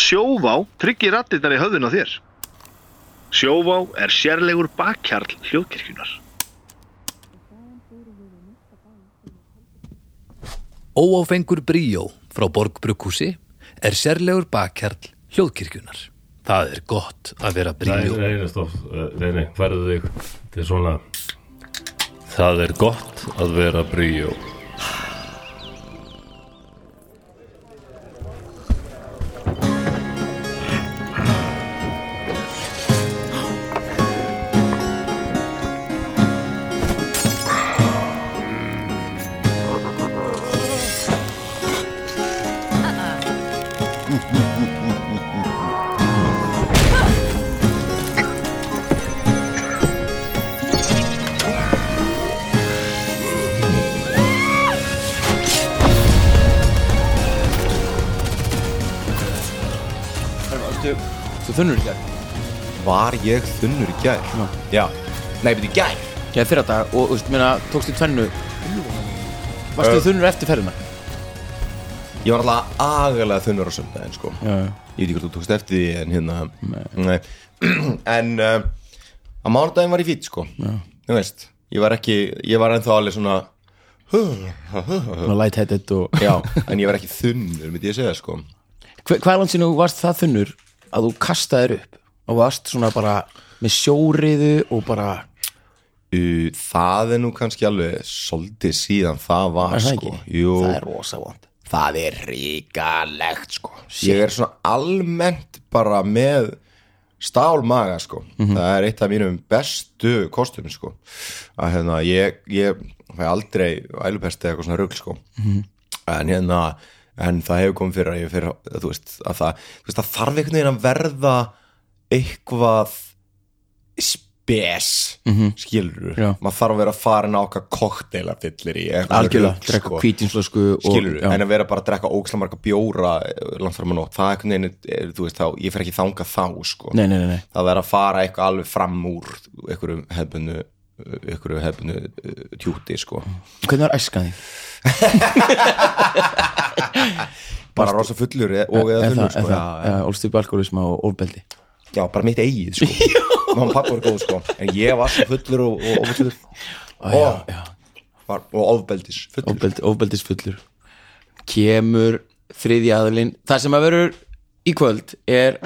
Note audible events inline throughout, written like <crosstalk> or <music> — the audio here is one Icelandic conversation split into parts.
Sjóvá tryggir rattirnar í höfðun á þér. Sjóvá er sérlegur bakkjarl hljóðkirkjunar. Óáfengur bríó frá Borgbrukkúsi er sérlegur bakkjarl hljóðkirkjunar. Það er gott að vera Nei, bríó. nei, nei, stopp, Eh, nei, nei, færðu þig Þetta er svona Það er gott að vera bríó Þú þunnur í gær Var ég þunnur í gær? Já. Já. Nei, betur í gær? Já, fyrir dag og, þú veist, meina, tókstu tvennu Varstu þunnur eftir ferðina? Ég var alltaf agalega þunnur á söndaginn, sko. Já, Ég veit ekki hvort þú tókst eftir því, en hérna... Nei. <clears throat> en uh, á mánudaginn var ég fýtt, sko. Já. Þú veist, ég var ekki, ég var ennþá alveg svona... svona lightheaded og Já, en ég var ekki þunnur, myndi ég segja, sko. Hve- Hvað er langt sinni þú varst það þunnur að þú kastaðir upp og varst svona bara með sjóriðu og bara Uh, það er nú kannski alveg svolítið síðan það var, Er það sko. ekki? Jú. Það er rosa vond það er ríkalegt sko ég er svona almennt bara með stálmaga sko það er eitt af mínum bestu kostum sko að hérna ég, ég fæ aldrei ælupesti eða eitthvað svona rugl sko en hérna en það hefur komið fyrir að ég fyrir þú veist að það, þú veist, það þarf einhvern veginn að verða eitthvað spes mm -hmm. skilur Já. maður þarf að vera farin á okkar kokteila fyllir í eitthvað Algjörlega, rugl, sko. drekka hvítinslösku og- skilur, já. en að vera bara að drekka óksla marga bjóra eh, langt fram á nótt, það er einhvern veginn eh, þú veist þá, ég fer ekki þanga þá sko Nei, nei, nei, nei. það er að fara eitthvað alveg fram úr einhverju hefbunu einhverju hefbunu tjúti sko Hvernig var æskan þig? bara rosa fullur eh, og eða En það, en þunnur sko það, já, ja, Ólst upp alkoholisma og ofbeldi já, já, bara mitt eigið <laughs> sko mamma og pappa voru góð sko, en ég var svo fullur og, og, og fullur <laughs> Ó, já, og, var, og ofbeldis fullur ofbeldi, ofbeldisfullur kemur þriðji aðlinn það sem að verður í kvöld er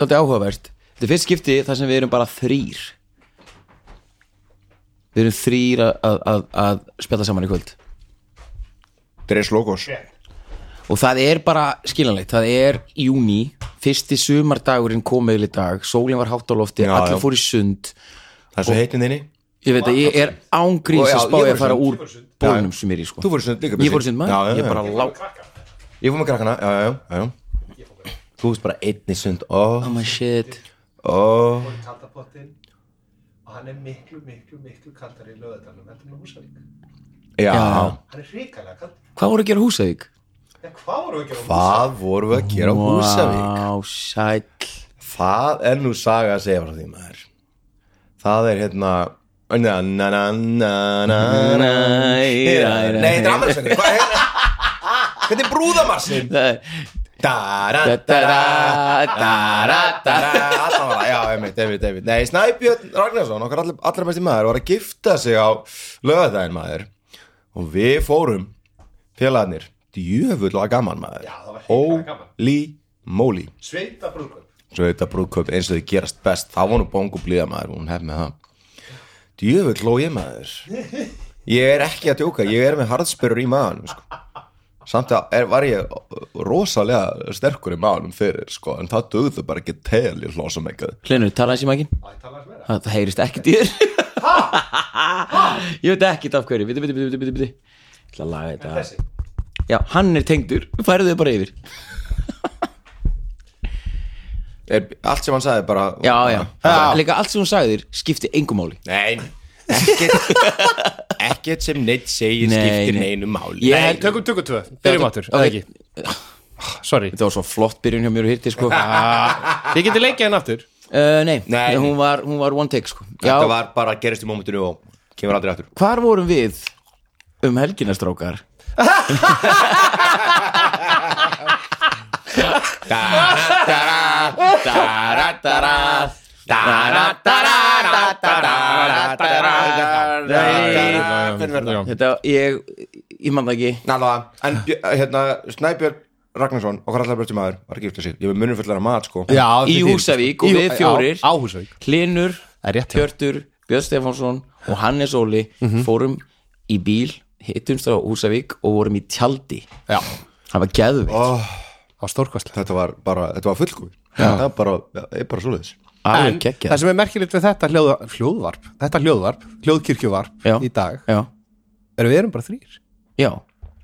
þetta áhugavert þetta er fyrst skipti þar sem við erum bara þrýr við erum þrýr að, að, að, að spjalla saman í kvöld Dres Logos og það er bara skiljanlegt það er júni, fyrsti sumardagurinn komið í dag, sólinn var hátt á lofti Já, allir já. fór í sund það er svo heitin þinni ég veit að ég er Og ángríns já, að spá ég ég fór í að fara sund. úr bólnum sem er í sko þú voru sund líka ég fór í sund Já, já, maður, já. ég bara lá Ég fór með krakkana, já, já, já, já. Þú veist bara einni sund, ó, oh my shit ó, í kaldapottinn og hann er miklu, miklu, miklu kaldar í löðadalum heldur en á Húsavík. já. Já. Hann er hrikalega kaldur. hvað voru að gera húsavík? En hvað voru við að gera? Hvað vorum við að gera á Húsavík? Vá, sæll Það er nú saga að segja frá því maður. Það er hérna, na, na, na, na, na, na. Nei, þetta er afmælisvendur, hvað er þetta? Þetta er brúðamarsin. Da, da, da, da, da, da, da, Alltaf var það, já, einmitt, einmitt, einmitt. Nei, Snæbjörn Ragnarsson, okkar allra, allra besti maður, var að gifta sig á lögadaginn maður. og við fórum félagarnir djöfull að gaman maður Já, það var hrikalega gaman. Óli Móli Sveita brúðkvöld. svo þetta brúðköp eins og þið gerast best þá var nú bóng og blíða maður hún hef með það djöfull hló ég <laughs> maður ég er ekki að djóka ég er með harðspyrur í maðanum sko. samt að er, var ég rosalega sterkur í maðanum fyrir sko, en það dögðu bara ekki til ég hló sem eitthvað Hlenu, tala eins í mækin Það er talað sem vera. Það heyrist ekkert í þér <laughs> Ég veit ekkert af hverju Biti, biti, biti, biti, biti Ég ætla að laga þetta Þessi. Já, hann er tengdur Færu þau bara yfir er, allt sem hann sagði bara Já, já Líka allt sem hún sagði þér skipti engum máli Nei, ekkert ekkert sem neitt segir Nei, skiptir nei. neinu máli Ég Nei, held- tökum, tökum tvö. Byrjum áttur. ok. Það ekki. Ah, Sorry. Þetta var svo flott byrjun hjá mér og hirti sko uh, <laughs> Þið getur leikið henn aftur. Nei, Nei. Hún, var, hún var one take sko Já, Þetta var bara gerist í mómentinu og kemur aldrei aftur hvar vorum við um helgina strákar? Da, da, da, Nálega, Þetta, ég, ég man það ekki en Bjö- hérna Snæbjörn Ragnarsson, okkar allar börjum maður var að gifta sig, ég var munum fullar að mat sko Já, Í fyrir þín, Húsavík sko. og Í- við já, fjórir. Á Húsavík Hlinur, Það er rétt hjá. Hjörtur, Björn Stefánsson og Hannes Óli fórum í bíl hittumst á Húsavík og vorum í tjaldi Já, Það var geðveikt á stórkostlega þetta var bara, þetta var fullkomin það var bara, ég er bara svoleiðis En Alveg það geggjað sem er merkilegt við þetta hljóð, hljóðvarp Þetta hljóðvarp, hljóðkirkjuvarp Já. í dag Já, Erum við erum bara þrýr já,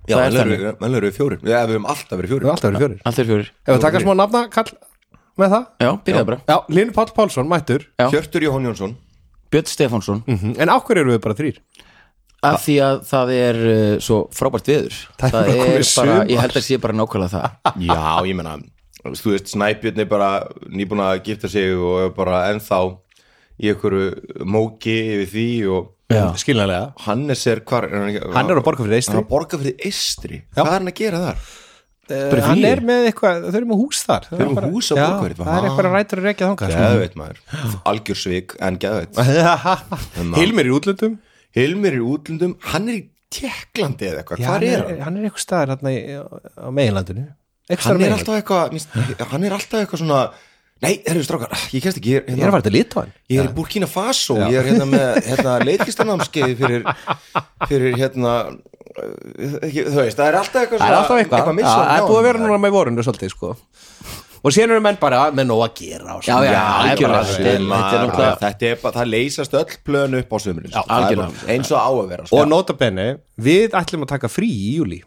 Já, það en er erum þannig við- en erum við fjórir, já, við höfum alltaf verið Við erum fjórir alltaf verið fjórir Allt er fjórir Ef við taka smá nafna kall með það Já, byrjaði bara Já, Linur Páll Pálsson, mættur Já. Hjörtur Jóhann Jónsson Björn Stefánsson Mhm. En á hverju erum við bara þrýr? Af því að það er uh, svo frábært viður Það er bara komið bara, sumar. ég held að sé bara nákvæmlega það Já, ég meina Þú veist, Snæbjörn er bara nýbúin að gifta sig og er bara ennþá í einhverju móki yfir því og Skiljanlega Hannes er hvar er hann, ekki- Hann er á Borgarfirði eystri. Hann er á Borgarfyrði eistri Hvað er hann að gera þar? uh, Hann er með eitthvað, þau eru með hús þar Þau eru með hús á Já, Borgarfirði, Það er vá. eitthvað rætur að rekja þangað sko. Geðveit maður, algjörsvík en geðveit <laughs> Hilmir í útlöndum Hilmir er í útlundum, hann er í Tjekklandi eða eitthvað, hvar hann er er, hann? hann er eitthvað staðar hann á meginlandinu Einhvers Hann staðar á er meginlandinu. alltaf eitthvað mér- hann er alltaf eitthvað svona Nei, herru strákar, ah, ég kemst ekki Ég er að fara til Litóan Ég er í Burkina Faso, ég er hérna með hérna, leiklistanámskeið fyrir, fyrir hérna, eh, ekki, þú veist, það er alltaf eitthvað Það er alltaf eitthvað eitthvað Já, missað Það er hjá búið að honum. vera núna með vorundu svolítið sko Og síðan eru menn bara með nóg að gera og Já, svona. já, Það er bara algjörlega Þetta er- sumar, þetta er bara- náttúrulega- Þetta er bara, það leysast öll plön upp á sko. sömurinn algjörlega. Eins og á að vera Og sko. nota bene, við ætlum að taka frí í júli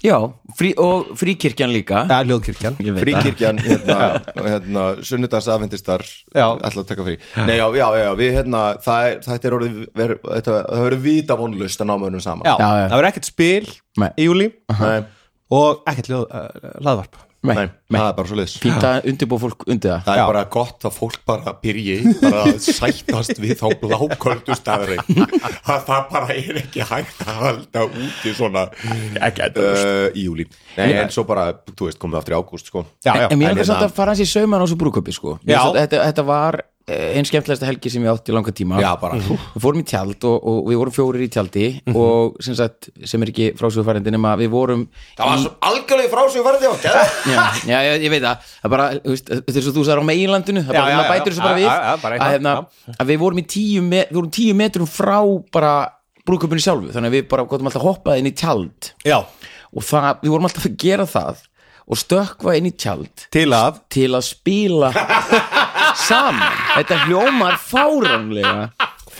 Já, frí, og fríkirkjan líka Það er hljóðkirkjan Ég veit það. Fríkirkjan, hérna, hérna sunnudags aðvendistar Já. Alltaf taka frí Nei, já, já, já, við hérna, það er, þetta er orðið ver, þetta, Það verður vita vonlust að ná mönnum saman Já, Já, já. það verður ekkert spil Nei. í júli Nei, og ekkert ljóð, uh, laðvarp Nei, nei, nei. það er bara svo liðs Fínt að undirbúa fólk undir það Það er Já. bara gott að fólk bara byrji bara að sættast við þá bláköldu staðri að það bara er ekki hægt að halda úti svona uh, í júli Nei, en svo bara, þú veist, komum við aftur í ágúst sko. Já, já, En mér En langar samt hérna- að fara hans í sauman á þessu brúköpi sko Mér Já. finnst að þetta, þetta var eh, ein skemmtilegasta helgi sem ég átti í langa tíma Já, bara. Mhm. Við fórum í tjald og, og við vorum fjórir í tjaldi og sem sagt, sem er ekki frásögufærendin nema við vorum Það var svo algjörlega frásugverði á geða já, já, já, ég veit það það er bara, þú veist, þetta er svo þú sagðir á meginlandinu það er Já, bara, já, maður já. bætir þessu bara Já, við já, já, bara að, eitthvað, hérna, að við vorum í tíu, me, við vorum tíu metrum frá bara brúköpunni sjálfu þannig að við bara gotum alltaf hoppað inn í tjald já, og það, við vorum alltaf að gera það og stökkva inn í tjald til að til að <laughs> spila saman þetta hljómar fáránlega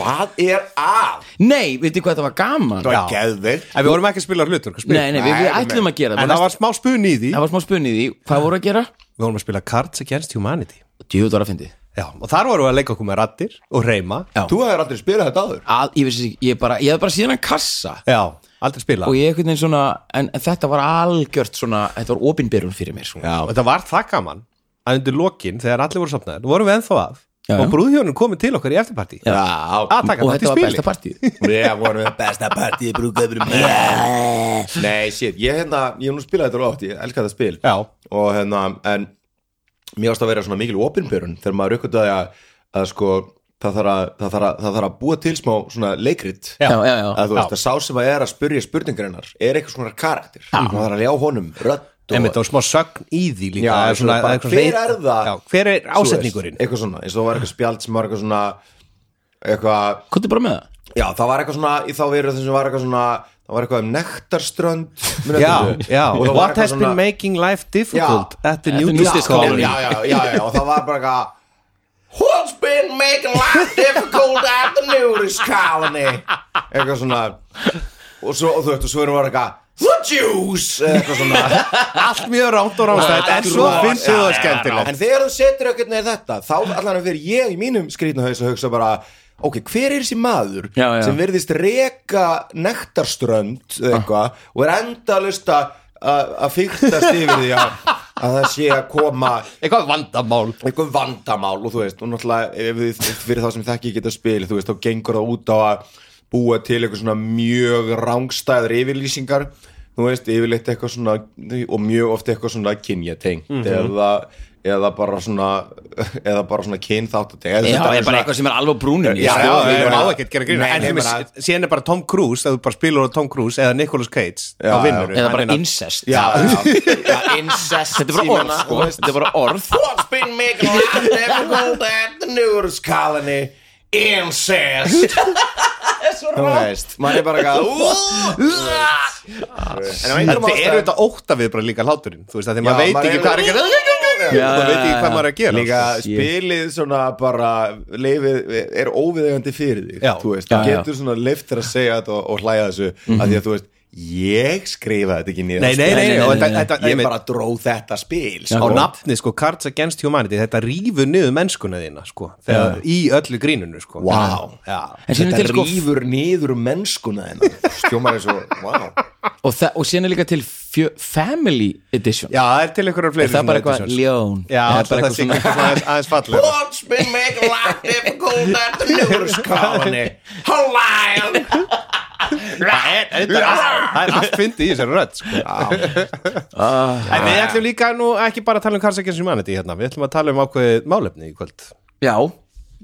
Hvað er að? nei, veitir hvað þetta var gaman Það Já. er geðvill En við vorum ekki að spila hlutur spil. nei, nei, við, við ætlum að gera En það var smá spun í því það var smá spunnið í því. hvað voru að gera? Við vorum að spila Cards Against Humanity djúður var að fyndi Já, og þar vorum við að leika okkur með rattir og reyma Já. Þú hefur aldrei spilað þetta áður að, ég, vissi, ekki, ég, bara, ég hef bara síðan að kassa Já, aldrei spila og og, ég einhvern veginn svona en, en þetta var algjört svona þetta var opinbyrjun fyrir mér svona. þetta var það gaman að undir lokin, þegar allir voru sopnaðir vorum við ennþá að Já, já. og brúðhjónum komið til okkar í eftirparti Já. að taka og þátt í þetta var spili besta partíð Við vorum við besta partíð brúkaður Nei, shit, ég hérna ég hef nú spilað þetta rátt, ég elska þetta spil Já, og hérna, en mér ást að vera svona mikil opinbjörun þegar maður aukvitaði að, að sko það þarf að, það þarf að, það þarf að búa til smá svona leikrit <laughs> já, já, já. að þú veist að sá sem að er að spurja spurningarinnar er eitthvað svona karakter já. maður þarf að ljá honum rödd einmitt og smá sögn í því líka Já, Það er svona bara, eitthvað hver svona- er það? Já, Hver er þú veist, ásetningurinn? eitthvað svona, eins og það var eitthvað spjald sem var eitthvað svona eitthvað, hvað er bara með það? já það var eitthvað svona í þá veru þessum var eitthvað svona það var eitthvað um nektarströnd munið Já, eftir þessu? já, Og það var what eitthvað has been svona- making life difficult Já. at the At the new new já, Discovery. discovery já, já, já, já, og það var bara eitthvað Who's been making life difficult at the nudist colony eitthvað svona og svo, og þú veist, og svo erum við eitthvað The Jews, eitthvað svona Allt mjög rámt og rámstætt En svo Rosa. finnst þið það skemmtilegt En þegar þú setur eitthvað neður þetta þá allan að fyrir ég í mínum skrýtna haus að hugsa bara ok, hver er þessi maður Já, já. sem virðist reka nektarströnd eða eitthvað og er endalust að að fyrtast yfir því að að það sé að koma Eitthvað vandamál einhver vandamál og þú veist og náttúrulega ef við, fyrir þá sem þekki geta spil þú veist þá gengur það út á að búa til eitthvað svona mjög rángstæður yfirlýsingar Mhm. þú veist yfirleitt eitthvað svona og mjög oft eitthvað svona kynjatengt eða eða bara svona eða bara svona kynþáttatík Já, það er bara eitthvað sem er alveg á brúninu Já, Já, já, það já. má ekki gera sko, grína Nei, En nei, þeim bara- er síðan er bara Tom Cruise Þegar þú bara spilur á Tom Cruise eða Nicolas Cage Já, Þá vinnur Eða bara incest já, já, <laughs> já, incest Þetta er bara orð, sko Þetta er bara orð What's been making life difficult at the nudist colony? <laughs> Incest. þú veist maður er bara eitthvað en á einhverjum Þetta er ástæðum- auðvitað ótt við bara líka hláturinn Þú veist að því Já, maður veit maður ekki er- hvað er ekki Já, Það veit ekki hvað maður er að gera líka sko. spilið svona bara leifið er óviðegandi fyrir þig Já. þú veist, Já, þú já. getur svona leift þér að segja þetta og, og hlæja þessu af því að þú veist, ég skrifa þetta ekki nýra Nei, nei, nei, Nei, nei, og nei, þetta- nei. þetta- ég einmitt, bara dró þetta spil á sko. nafni sko Cards Against Humanity þetta rífur niður mennskuna þína sko þegar, í öllu grínunu sko Vá. Já. En síðan er þetta til, sko, rýfur niður um mennskuna hennar stjómar eins og, wow Og, það- og síðan er líka til fjö, Family Edition já, það er til einhverjar Er fleiri það svona bara eitthvað editions. ljón Er já, alltaf það sé svona- eitthvað svona aðeins- aðeins <laughs> fallega What's been making life difficult at the nudist <laughs> colony? Holion. það er allt fyndið í þessari rödd sko. en við ætlum líka nú ekki bara að tala um Cards Against Humanity hérna, við ætlum að tala um ákveðið málefni í kvöld Já,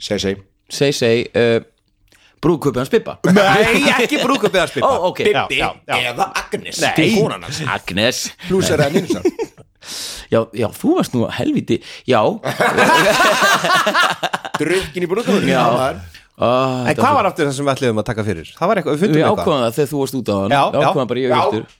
seg, seg seg, seg uh, Brúðkaupi hans Bibba nei, ekki brúkup <laughs> eða spipa Ó, ok. Bibbi Eða Agnes. Nei. Agnes pluss er það nýnsan já, já, þú varst nú helviti <laughs> Já, drukkin í brúðkvöldinu Já. uh, en hvað var aftur það sem við ætlum að taka fyrir það var eitthvað, við Við fundum eitthvað ákvaðum það þegar þú varst út á hann Já, Við já. ákvaðum bara ég Já. og Hjörtur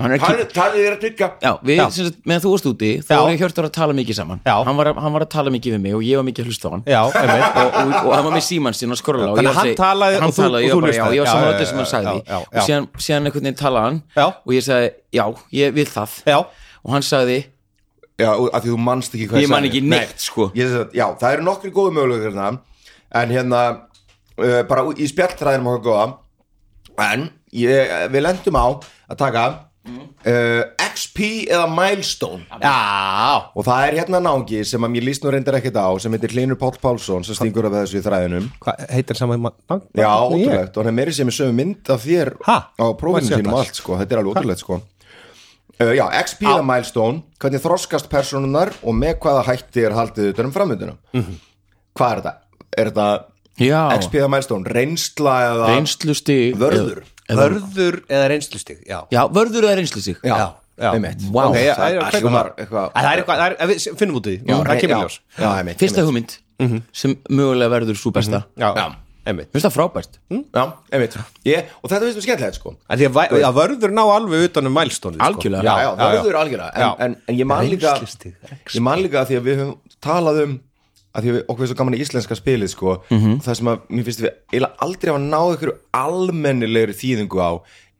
Hann er ekki talið þér að tryggja Já, við, Já. sem sagt, meðan þú varst úti þá Já. var ég Hjörtur að tala mikið saman Já. hann var, að, hann var að tala mikið við mig og ég var mikið að hlusta á hann <laughs> já, einmitt og, og, og hann var með símann sinn að skorla Þannig að hann talaði og hann þú- talaði, og ég þú var bara, já, ég var hlustaði. Já, saman já, öllu sem hann já, sagði já, já, já. og síðan, síðan einhvern veginn talaði hann Já. og ég sagði, já, ég vil það Já. og hann sagði, Já, og að því þú manst ekki hvað Ég man sagði. ekki neitt, Nei, sko. ég, sem sagt- Já, það eru nokkri góðu mögulegur hérna En hérna, uh, bara í spjalltræðinum okkar góða En ég, við lendum á að taka uh, XP eða Milestone já, Og það er hérna náungi sem að mér líst nú reyndar ekkert á sem heitir Hlinur Páll Pálsson sem stingur af þessu í þræðinum hvað heitir sama mann Já, ótrúlegt, og hann er meiri sem er sömu mynd af þér Ha? á prófinu Hvað er sínum þetta? og allt, sko, þetta er alveg ótrúlegt, sko uh, Já, XP eða Milestone, hvernig þroskast personunar og með hvaða hætti er haldið utan um framöndina Mhm. Hvað er þetta? Er þetta já, XP eða Milestone, reynsla eða reynslusti vörður? vörður eða reynslustig já já, vörður eða reynslustið Já, já. einmitt Vá, Ok, Já, það já, er hvernig var- hljómar En Það er eitthvað, það er, ef við finnum út í því, það kemur í ljós Já, einmitt fyrsta hugmynd Mhm. sem mögulega verður svo besta Já, Já. einmitt Mér finnst það frábært Já, einmitt Ég, Og þetta veistum skemmtilegt, sko En Því að væ- að vörður ná alveg utan um mælstónu sko. Algjörlega. Já, já, já, vörður algjörlega en, Já. en, en ég man líka Reynslustig, Ég man líka að því að við höfum talað um að því að við, okkur er svo gaman í íslenska spilið sko, mm Mhm. -hmm. það sem að mér finnst við eiginlega aldrei hafa náð ykkur almennilegri þýðingu á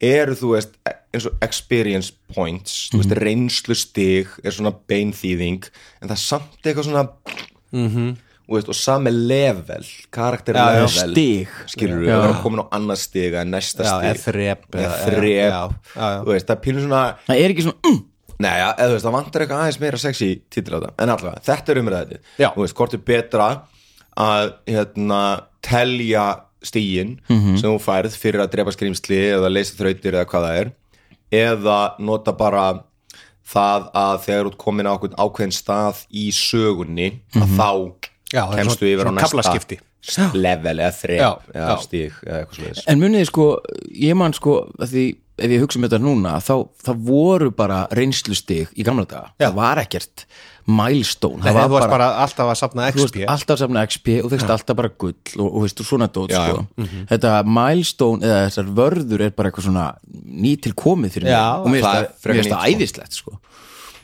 eru þú veist eins og experience points þú veist Mhm. reynslu stig er svona beinþýðing en það er samt eitthvað svona Mhm. og, veist, og sami level karakter level stig. skilur við, það er komin á annað stig eða næsta Já, stig eða þrep, eða eða- þrep já, já, já. þú veist, það er pínu svona það er ekki svona, mm, Nei, ja, eða þú veist, það vantar eitthvað aðeins meira sexy títil á þetta, en allavega, þetta er umræðið Já. Þú veist, hvort er betra að hérna, telja stíin Mhm. sem þú færð fyrir að drepa skrýmsli eða leysa þrautir eða hvað það er eða nota bara það að þegar þú ert komin á okkur ákveðin stað í sögunni að þá Mhm. Já, það er kemstu svona- yfir á svona kaflaskipti. næsta level eða Já, þrep eða já. stíg eða eitthvað svo leis en muniði sko ég man sko, að því ef ég hugsa um þetta núna, þá, þá voru bara reynslustig í gamla daga það var ekkert milestone Nei, það Það var varst bara alltaf að þú safna veist, XP alltaf safna XP og þekkst alltaf bara gull og, og veist, og svona dót sko. Mhm. þetta milestone eða þessar vörður er bara eitthvað svona nýtil komið fyrir Já, mig og mér það er finnst það- frekar mér finnst það nýtt, sko. æðislegt sko.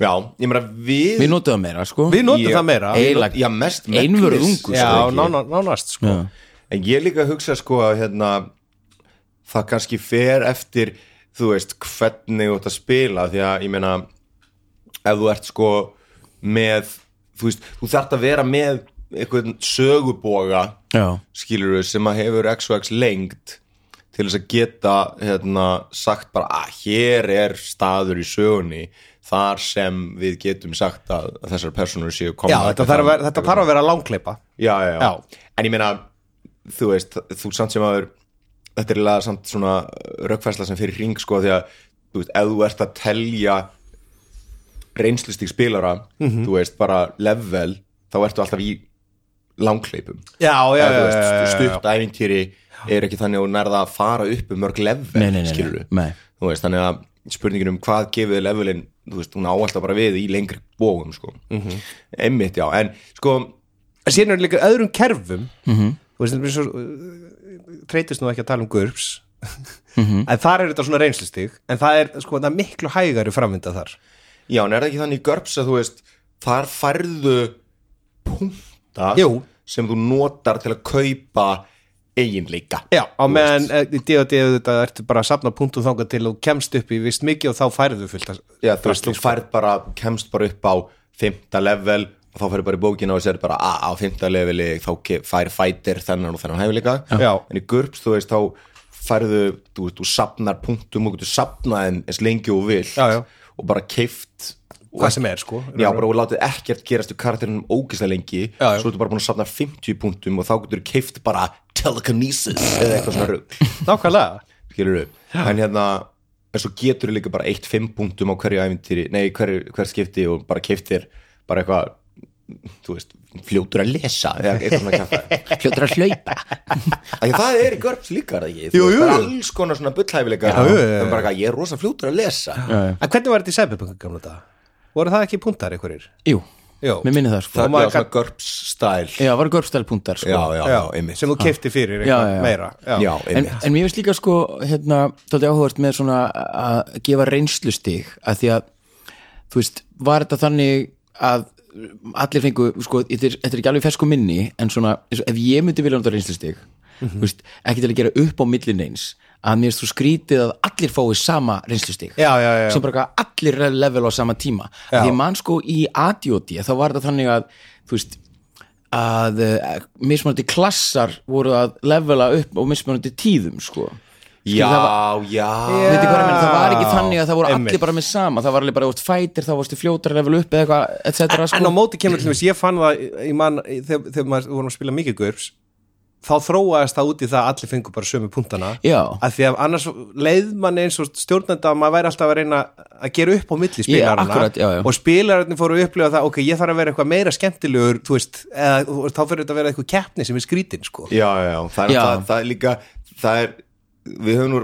Já, ég meira við, við notum það meira sko. Við notum Ég- það meira Eiginlega já, mest einvörðungu, megnis, Já, eða ekki? nána- nánast sko En ég líka að hugsa sko að hérna, það kannski fer eftir þú veist hvernig þú ert að spila því að ég meina ef þú ert sko með þú veist, þú þarft að vera með einhvern söguboga Já. skilur við sem að hefur x og x lengt til þess að geta hérna, sagt bara að hér er staður í sögunni þar sem við getum sagt að, að þessar personur séu Já, komna þetta þarf að vera- þetta þarf að vera langkleipa já, já, já. Já. en ég meina þú veist, þú samt sem aður þetta er laga samt svona rökkfærsla sem fyrir hring sko því að þú veist, ef þú ert að telja reynslustík spilara Mhm. þú veist, bara level þá ertu alltaf í langleipum Já, já, Eða, þú já, veist, já, já, stutt æfintýri er ekki þannig að hún nærða að fara upp um mörg level, Nei, nei, nei, nei. skilurðu. Nei. þú veist, þannig að spurningin um hvað gefið levelin, þú veist, hún á alltaf bara við í lengri bóðum, sko Mhm. einmitt, já, en sko En síðan er líka öðrum kerfum Mhm. Þú veist, þetta er svo uh, Treytist nú ekki að tala um <laughs> GURPS Mhm. En þar er þetta svona reynslistig En það er, sko, það er miklu hægari framvinda þar Já, en er það ekki þannig í GURPS að þú veist þar færðu punta Jú. sem þú notar til að kaupa eiginleika Já, á meðan eh, í D&D þetta ertu bara að safna punktum þangað til og kemst upp í vist mikið og þá færðu fullt sko, að Já, þú veist, drasli, þú færð bara, kemst bara upp á fymta level og þá færðu bara í bókina og sér bara að á fymta leveli þá ke- fær fætir þennan og þennan hæfileika Já. en í GURPS, þú veist, þá færðu þú veist, þú safnar punktum og þú safnar þeim eins lengi og vilt Já, já. og bara keift Hvað sem er, sko Já, bara og látið ekkert gerast úr karakterinum ógeðslega lengi Já, já. Svo ertu bara búin að safna 50 punktum og þá getur þú keift bara telekinesis eða eitthvað svona <laughs> rugg Nákvæmlega Skilur þú? En hérna, en svo getur þú líka bara eitt 5 punktum á hverju æfintýri Nei, hver, hver skipti og bara keift þér bara eitthvað, þú veist, fljótur að lesa eða eitthvað svona <laughs> kæftar Fljótur að hlaupa Því það er í görps líka, er það ekki? Þú Jú, veist, jú. bara alls konar svona bullhæfileika Já, jú, jú. En bara eitthvað, ég er rosa fljótur að lesa En hvernig var þetta í Cyberpunk gamla þetta? Voru það ekki punktar einhverjir? Jú, Jó, mér minni það sko Það maður er svona gat- görps stæl Já, var görpstælpuntar sko Já, já, já, einmitt sem þú keifti fyrir Já, já, eitthvað já. meira Já, en, einmitt en mér finnst líka sko hérna, þátti áhugavert með svona að gefa reynslustig að því að þú veist, var þetta þannig að allir fengu, sko, þetta er, þetta er ekki alveg fersku minni, en svona, eins og ef ég myndi vilja nota reynslustig, þú veist, ekki til að gera upp á millin eins, að mér finnst þú skrítið að allir fái sama reynslustig Já, já, já. sem bara eitthvað allir eru level á sama tíma, Já. því mann sko í ADOD, þá var þetta þannig að þú veist, að uh, mismunandi klassar voru að levela upp á mismunandi tíðum sko Já, það var- já Veitir hvað ég meina, það var ekki þannig að það voru einmitt. allir bara með sama það var alveg bara, þú veist, fætir, þá varstu fljótar level upp eða eitthvað, et cetera, sko En á móti kemur til þess, ég fann það í- í mann, í- þegar, þegar maður vorum að spila mikið GURPS þá þróaðist það út í það að allir fengur bara sömu puntana Já. að því að annars leið manni eins og stjórnenda að maður væri alltaf að reyna að gera upp á milli spilarana akkurat, já, já. og spilararnir fóru að upplifa það ok, ég þarf að vera eitthvað meira skemmtilegur þú veist, eða, þú veist, þá fyrir þetta að vera eitthvað keppni sem er skrítin sko. já, já, já, það er, Já. Það, það er líka það er, við höfum nú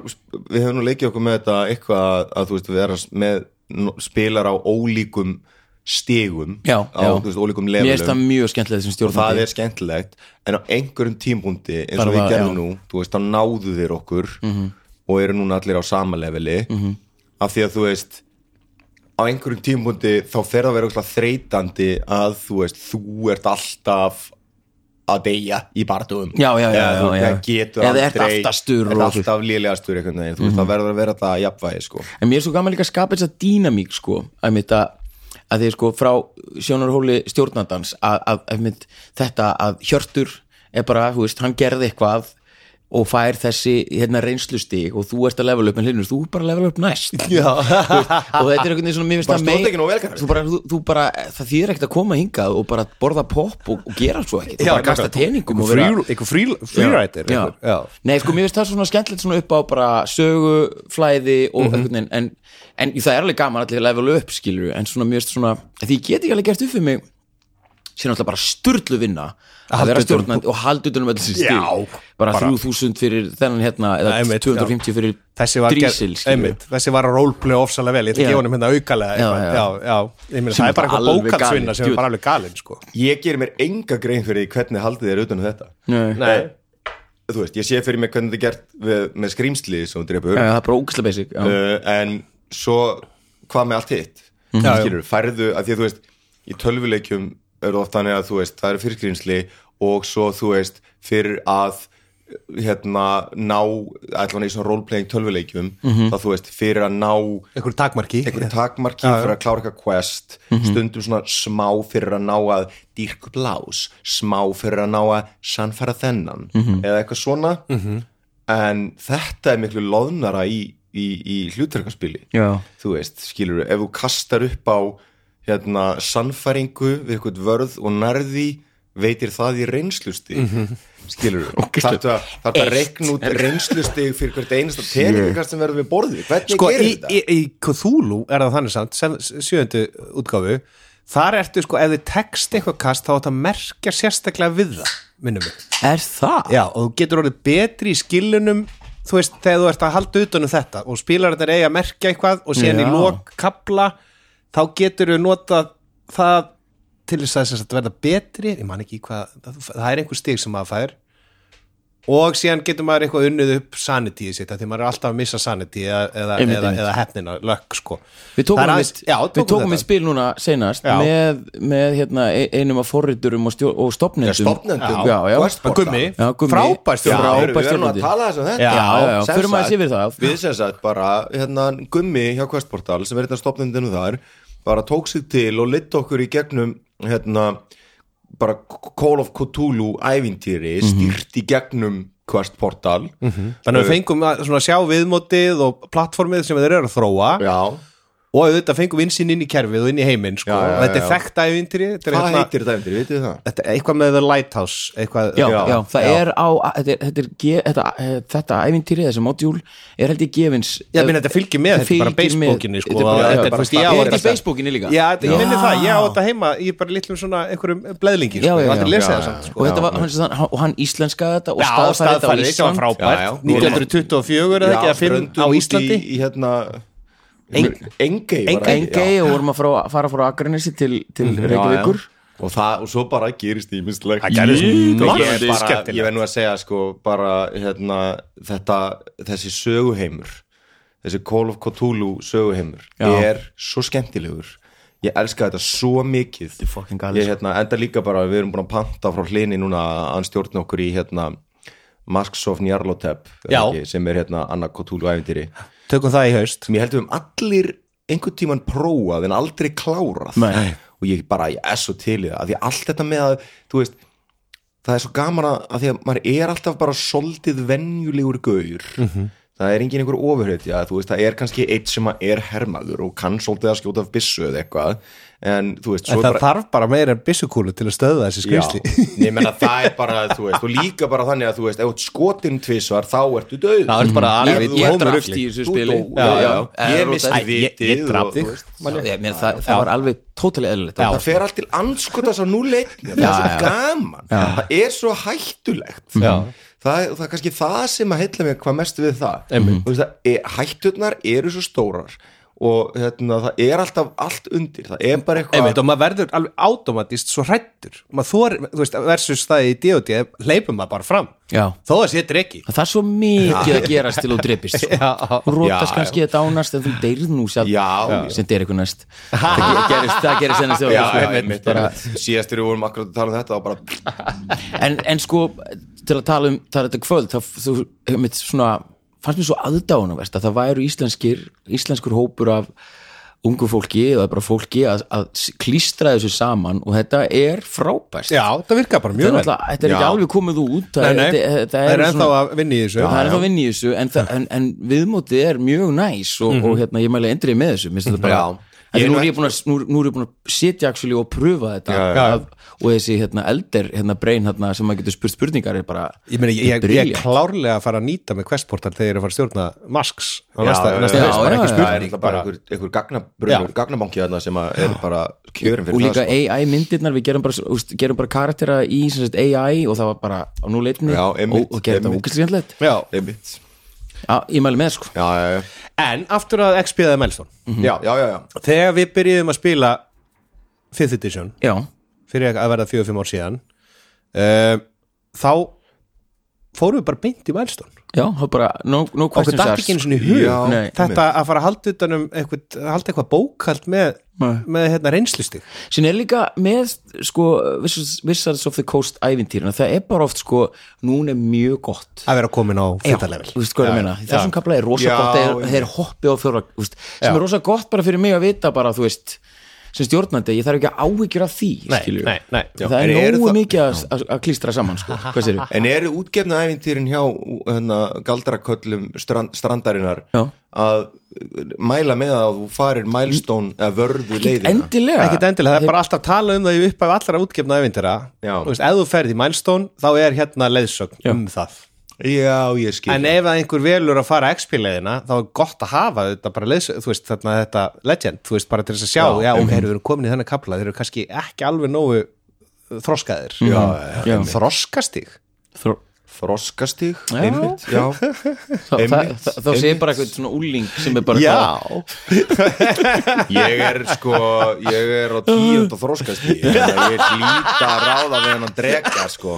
við höfum nú leikið okkur með þetta eitthvað að, að þú veist, við erum með no- spilar á ólíkum stigum Já, á já. þú veist, ólíkum mér finnst það levelum mjög skemmtilega þessum og það stjórnandi er skemmtilegt en á einhverjum tímpúndi eins og Þarf við að- já. gerðum Mhm. nú, þú veist, þá náðu þeir okkur og eru núna allir á sama leveli af því að þú veist á einhverjum tímpúndi þá fer það að vera ógeðslega þreytandi að þú veist, þú ert alltaf að deyja í barndugum Já, já, já, Eða þú já, já. það getur Eða ert aldrei- aftastur ert og- Mhm. alltaf lélegastur einhvern veginn, þú veist, það verður að vera það jafnvægi, sko en mér er svo gaman líka að skapa þess að dýnamík sko, að mitt að að þið sko frá sjónarhóli stjórnandans að, að, að mitt þetta að Hjörtur er bara, þú veist, hann gerði eitthvað og fær þessi hérna reynslustig og þú ert að level upp en hlinnur, þú er bara að level upp næst Þú veist, og þetta er einhvern veginn svona mér finnst Bara það stjórntækin og velgerðin. þú bara, þú, þú bara, það þýðir ekkert að koma hingað og bara borða popp og, og gera svo ekkert og bara kasta teningum og vera eitthvað free- freerider Já. einhver, já. Nei, sko, mér finnst það svona skemmtilegt svona upp á bara sögu, flæði Mhm. og einhvern veginn en, en það er alveg gaman allir að level upp, skilur en svona, mér finnst svona, að því ég get ekki alveg gert upp fyrir mig sér náttúrulega bara styrlu vinna að vera stjórnandi og haldi utan um öll þessi stíl Já, bara, bara- 3000 fyrir þennan hérna eða Nei, einmitt, 250 fyrir þessi var, ger- drísil, skilur einmitt, þessi var að roleplay ofsalega vel, ég ætla Já. að gefa honum hérna aukalega Já, eitthvað. já. já, já, ég meina Sem það er bara bara eitthvað alveg bókaldsvinna galið, sem djú. er bara alveg galinn sko. ég gerir mér enga grein fyrir því hvernig haldið þér utan um þetta Nei. Nei. þú veist, ég sé fyrir mig hvernig þetta er gert við, með skrýmsli sem þú drefur Já, já, það er bara ógæslega basic já. Eh. uh, en svo hvað með allt hitt mm Mhm. Já, já. skilur, færðu að því að þú veist í tölvuleikjum eru oft þannig að þú veist það eru fyrirgrýnsli og svo þú veist fyrir að hérna ná allan í svona roleplaying tölvuleikjum Mhm. þá þú veist fyrir að ná einhverju takmarki einhverju takmarki fyrir að klára eitthvað quest Mhm. stundum svona smá fyrir að ná að dýrku blás, smá fyrir að ná að sannfæra þennan Mhm. eða eitthvað svona en þetta er miklu loðnara í, í, í hlutverkarspili Já. þú veist, skilur ef þú kastar upp á hérna, sannfæringu við eitthvað vörð og nærði veitir það í reynslustig mm -hmm. skilur við Ógeðslega. þarf það að reikna út reynslustig fyrir hvert einasta teningar sem verður við borðið hvernig sko, gerir í, þetta? í, í Cthulhu er það þannig samt sem, sjöundu útgáfu þar ertu sko, ef þið tekst eitthvað kast þá átt að merkja sérstaklega við það minnum við, er það? já, og þú getur orðið betri í skilunum þú veist, þegar þú ert að halda utanum þetta og spilar þetta eiga að merkja eitthvað og síðan Já. í lok kapla þá getur við notað það til þess að, að verða betri ég man ekki í hvað, það, það er einhver stig sem maður fær og síðan getur maður eitthvað unnið upp sanitíð sitt af því maður er alltaf að missa sanití eða, eða, Einmitt, eða, einmitt. eða hefnina, lökk sko Við Það tókum, er aðeins, aðeins- já, við tókum þetta. í spil núna senast Já. með, með hérna, e- einum af forriturum og, stjó- og stopnendum Já, stofnendum. Um, já, já. Westport. Gummi, Já, Gummi. frábært Já. Já, erum Frábær við erum að stjórnandi. tala þess um þetta Já, já, já, sem förum aðeins sagt, yfir það. Við sem sagt bara, hérna, Gummi hjá Questportal sem er þetta stopnendinu þar bara tók sig til og litt okkur í gegnum hérna, bara Call of Cthulhu ævintýri Mhm. stýrt í gegnum Questportal þannig að við fengum að svona sjá viðmótið og plattformið sem þeir eru að þróa Já, og auðvitað fengum innsýn inn í kerfið og inn í heiminn sko. Já, já, já, og þetta er já. þekkt ævintri þetta er, hvað hérna- heitir þetta ævintýri, vitið þið það? þetta er eitthvað með The Lighthouse eitthvað, Já, já, Já, það er á þetta, er, þetta, er, ge- þetta, eh, þetta ævintýri, þessi módjúl er held ég gefins Ég meina, þetta fylgir með, Það þetta er bara fylgir með. basebókinni sko, Þetta er bara- og já, þetta er, bara þú veist, ég stafið. á Er þetta í þetta- Facebookinni líka? Já, þetta, ég Já. minni það, ég á þetta heima í bara litlum svona einhverjum bleðlingi sko, Já, já, ég já. hef aldrei lesið Já, það já, samt já. sko. og, þetta var, hann, hann, og hann íslenskaði þetta og Já, staðfærið staðfærið, þetta sem á var Ísland frábært Já, já. 1924 eða ekki að fimm á út í- Íslandi Í hérna Engei var það ekki? Engei Já. Mhm. og vorum að frá, fara frá Akranesi til, til Reykjavíkur Já, já. Og, það, og svo bara gerist ímislegt Það gerðist margt ég, er bara, skemmtilegt. ég verð nú að segja sko bara hérna, þetta, þessi söguheimur þessi Call of Cthulhu söguheimur Já. er svo skemmtilegur ég elska þetta svo mikið er fucking galið, sko. ég hérna, enda líka bara við erum búin að panta frá hlini núna að hann stjórna okkur í hérna Masks of Njarlotep er Já. ekki, sem er hérna Anna Cthulhu æfintýri Tökum það í haust sem ég held við um allir einhvern tíman prófað en aldrei klárað Nei. og ég bara, ég er svo til í það af því að allt þetta með að, þú veist það er svo gaman að, að því að maður er alltaf bara soldið venjulegur gaur Mhm. það er engin einhver ofurhetja þú veist, það er kannski eitt sem að er hermaður og kann soldið að skjóta af byssu eða eitthvað en þú veist, svo En er það þarf bara meira en byssukúlu til að stöða þessi skrýsli <laughs> Já, ég menna það er bara, þú veist, og líka bara þannig að þú veist, ef þú ert skotinn tvisvar þá ertu döð Það er bara alveg Ég- ég drapst í þessu Þú spili dó- já, já. Ég misti Æ, ég- vitið ég drap og- þig. þú veist, Já, ég meina, Það það var alveg tótali eðlilegt það fer allt til anskotas á núleik það er svo gaman, það er svo hættulegt það, það er kannski það sem að heilla mig hvað mest við það Þú veist, það er, hætturnar eru svo stórar og hérna, það er alltaf allt undir, það er bara Einmitt, eitthvað og maður verður alveg automatist svo hrættur maður þor, þú veist, versus það í D.O.D. leipur maður bara fram Já. þó að sé dregi Það er svo mikið að gerast til þú <laughs> dreipist Þú rótast kannski að dánast en þú deyrð nú sjálf Já, já. sem deyr eitthvað <laughs> næst Það ge- gerist, það gerist ennast Já, sko. einmitt, Bara- einmitt. síðast þegar við vorum akkurat að tala um þetta og bara, en, en sko, til að tala um það er þetta kvöld, þá þú, mitt, svona, fannst mér svo aðdánavert að það væru íslenskir, íslenskur hópur af ungu fólki eða bara fólki að, að klístra þessu saman og þetta er frábært já, það virkar bara þetta er, mjög vel náttúrulega- þetta er ekki Já. alveg komið út Nei, nei, þetta, þetta það er eru ennþá svona- að vinna í þessu það er ennþá vinn í þessu en, það- en, en viðmótið er mjög næs og, og hérna, ég mæli endrið með þessu minnst þetta bara Já. Af því Ég er Nú nú er ég búin að, nú, nú er ég búin að sitja actually og pröfa þetta Já, já. Af, og þessi hérna, elder hérna, brain hérna, sem maður getur spurt spurningar er bara Ég meina, ég, ég, ég brilliant. er klárlega að fara að nýta með Questportal þegar ég er að fara að stjórna Masks á næsta, já, næsta já, haust, já, já. bara ekki það er spurning alltaf bara einhver, einhver gagnabrunur, Já. gagnabanki þarna sem að er bara kjörin fyrir og líka það sko. AI myndirnar, við gerum bara, úst, gerum bara karaktera í sem sagt, AI og það var bara á núleitni Já, og, einmitt, og gerum þetta einmitt. úkistkjöndlegt já. einmitt, ég mæli með sko já, já, já, En aftur að XP eða Melstone já, já, já, já. Þegar við byrjuðum að spila 5th edition já, fyrir að verða 4-5 ár síðan uh, þá fórum við bara beint í Melstone já, það var bara no, no okkur questions datt ekki einu sinni í hug Já, Nei. þetta að fara að halda utanum eitthvað, halda eitthvað bókald með, Nei. með hérna, reynslustig sem er líka með sko, Wizards Wizards of the Coast ævintýrina, það er bara oft sko núna er mjög gott að vera komin Já, á fyrta level þú veist hvað ég meina, í þessum kapla er rosa Já, gott þeir, já. þeir hoppi á fjóra, þú veist, sem Já. er rosa gott bara fyrir mig að vita bara, þú veist sem stjórnandi, ég þarf ekki að áhyggjur af því skilurðu. nei, nei. Já, það en er eru nógu það- mikið að, að, að klístra saman sko. hvað <laughs> sér En eru útgefnaævintýrin hjá hana, galdraköllum strand, strandarinnar Já. að mæla með að þú farir mælstón eða vörðu leiðina endilega ekkert endilega, það er bara alltaf tala um það í upphæf allra útgefna eventýra Já. Þú veist, ef þú ferð í Milestone, þá er hérna leiðsögn um það Já, ég skil en ef að einhver velur að fara XP-leiðina þá er gott að hafa þetta bara leiðsögn þú veist, þarna þetta legend, þú veist, bara til þess að sjá já, já ok, eru við komin í þennan kapla, þeir eru kannski ekki alveg nógu þroskaðir já, já, þroskastig Þró, Þroskastig, einmitt Já, þá, það, Einmitt, það, þá sé bara eitthvað svona úling sem er bara Já. ég er sko ég er á tíund og þroskastig ég líta að ráða við hann að drega sko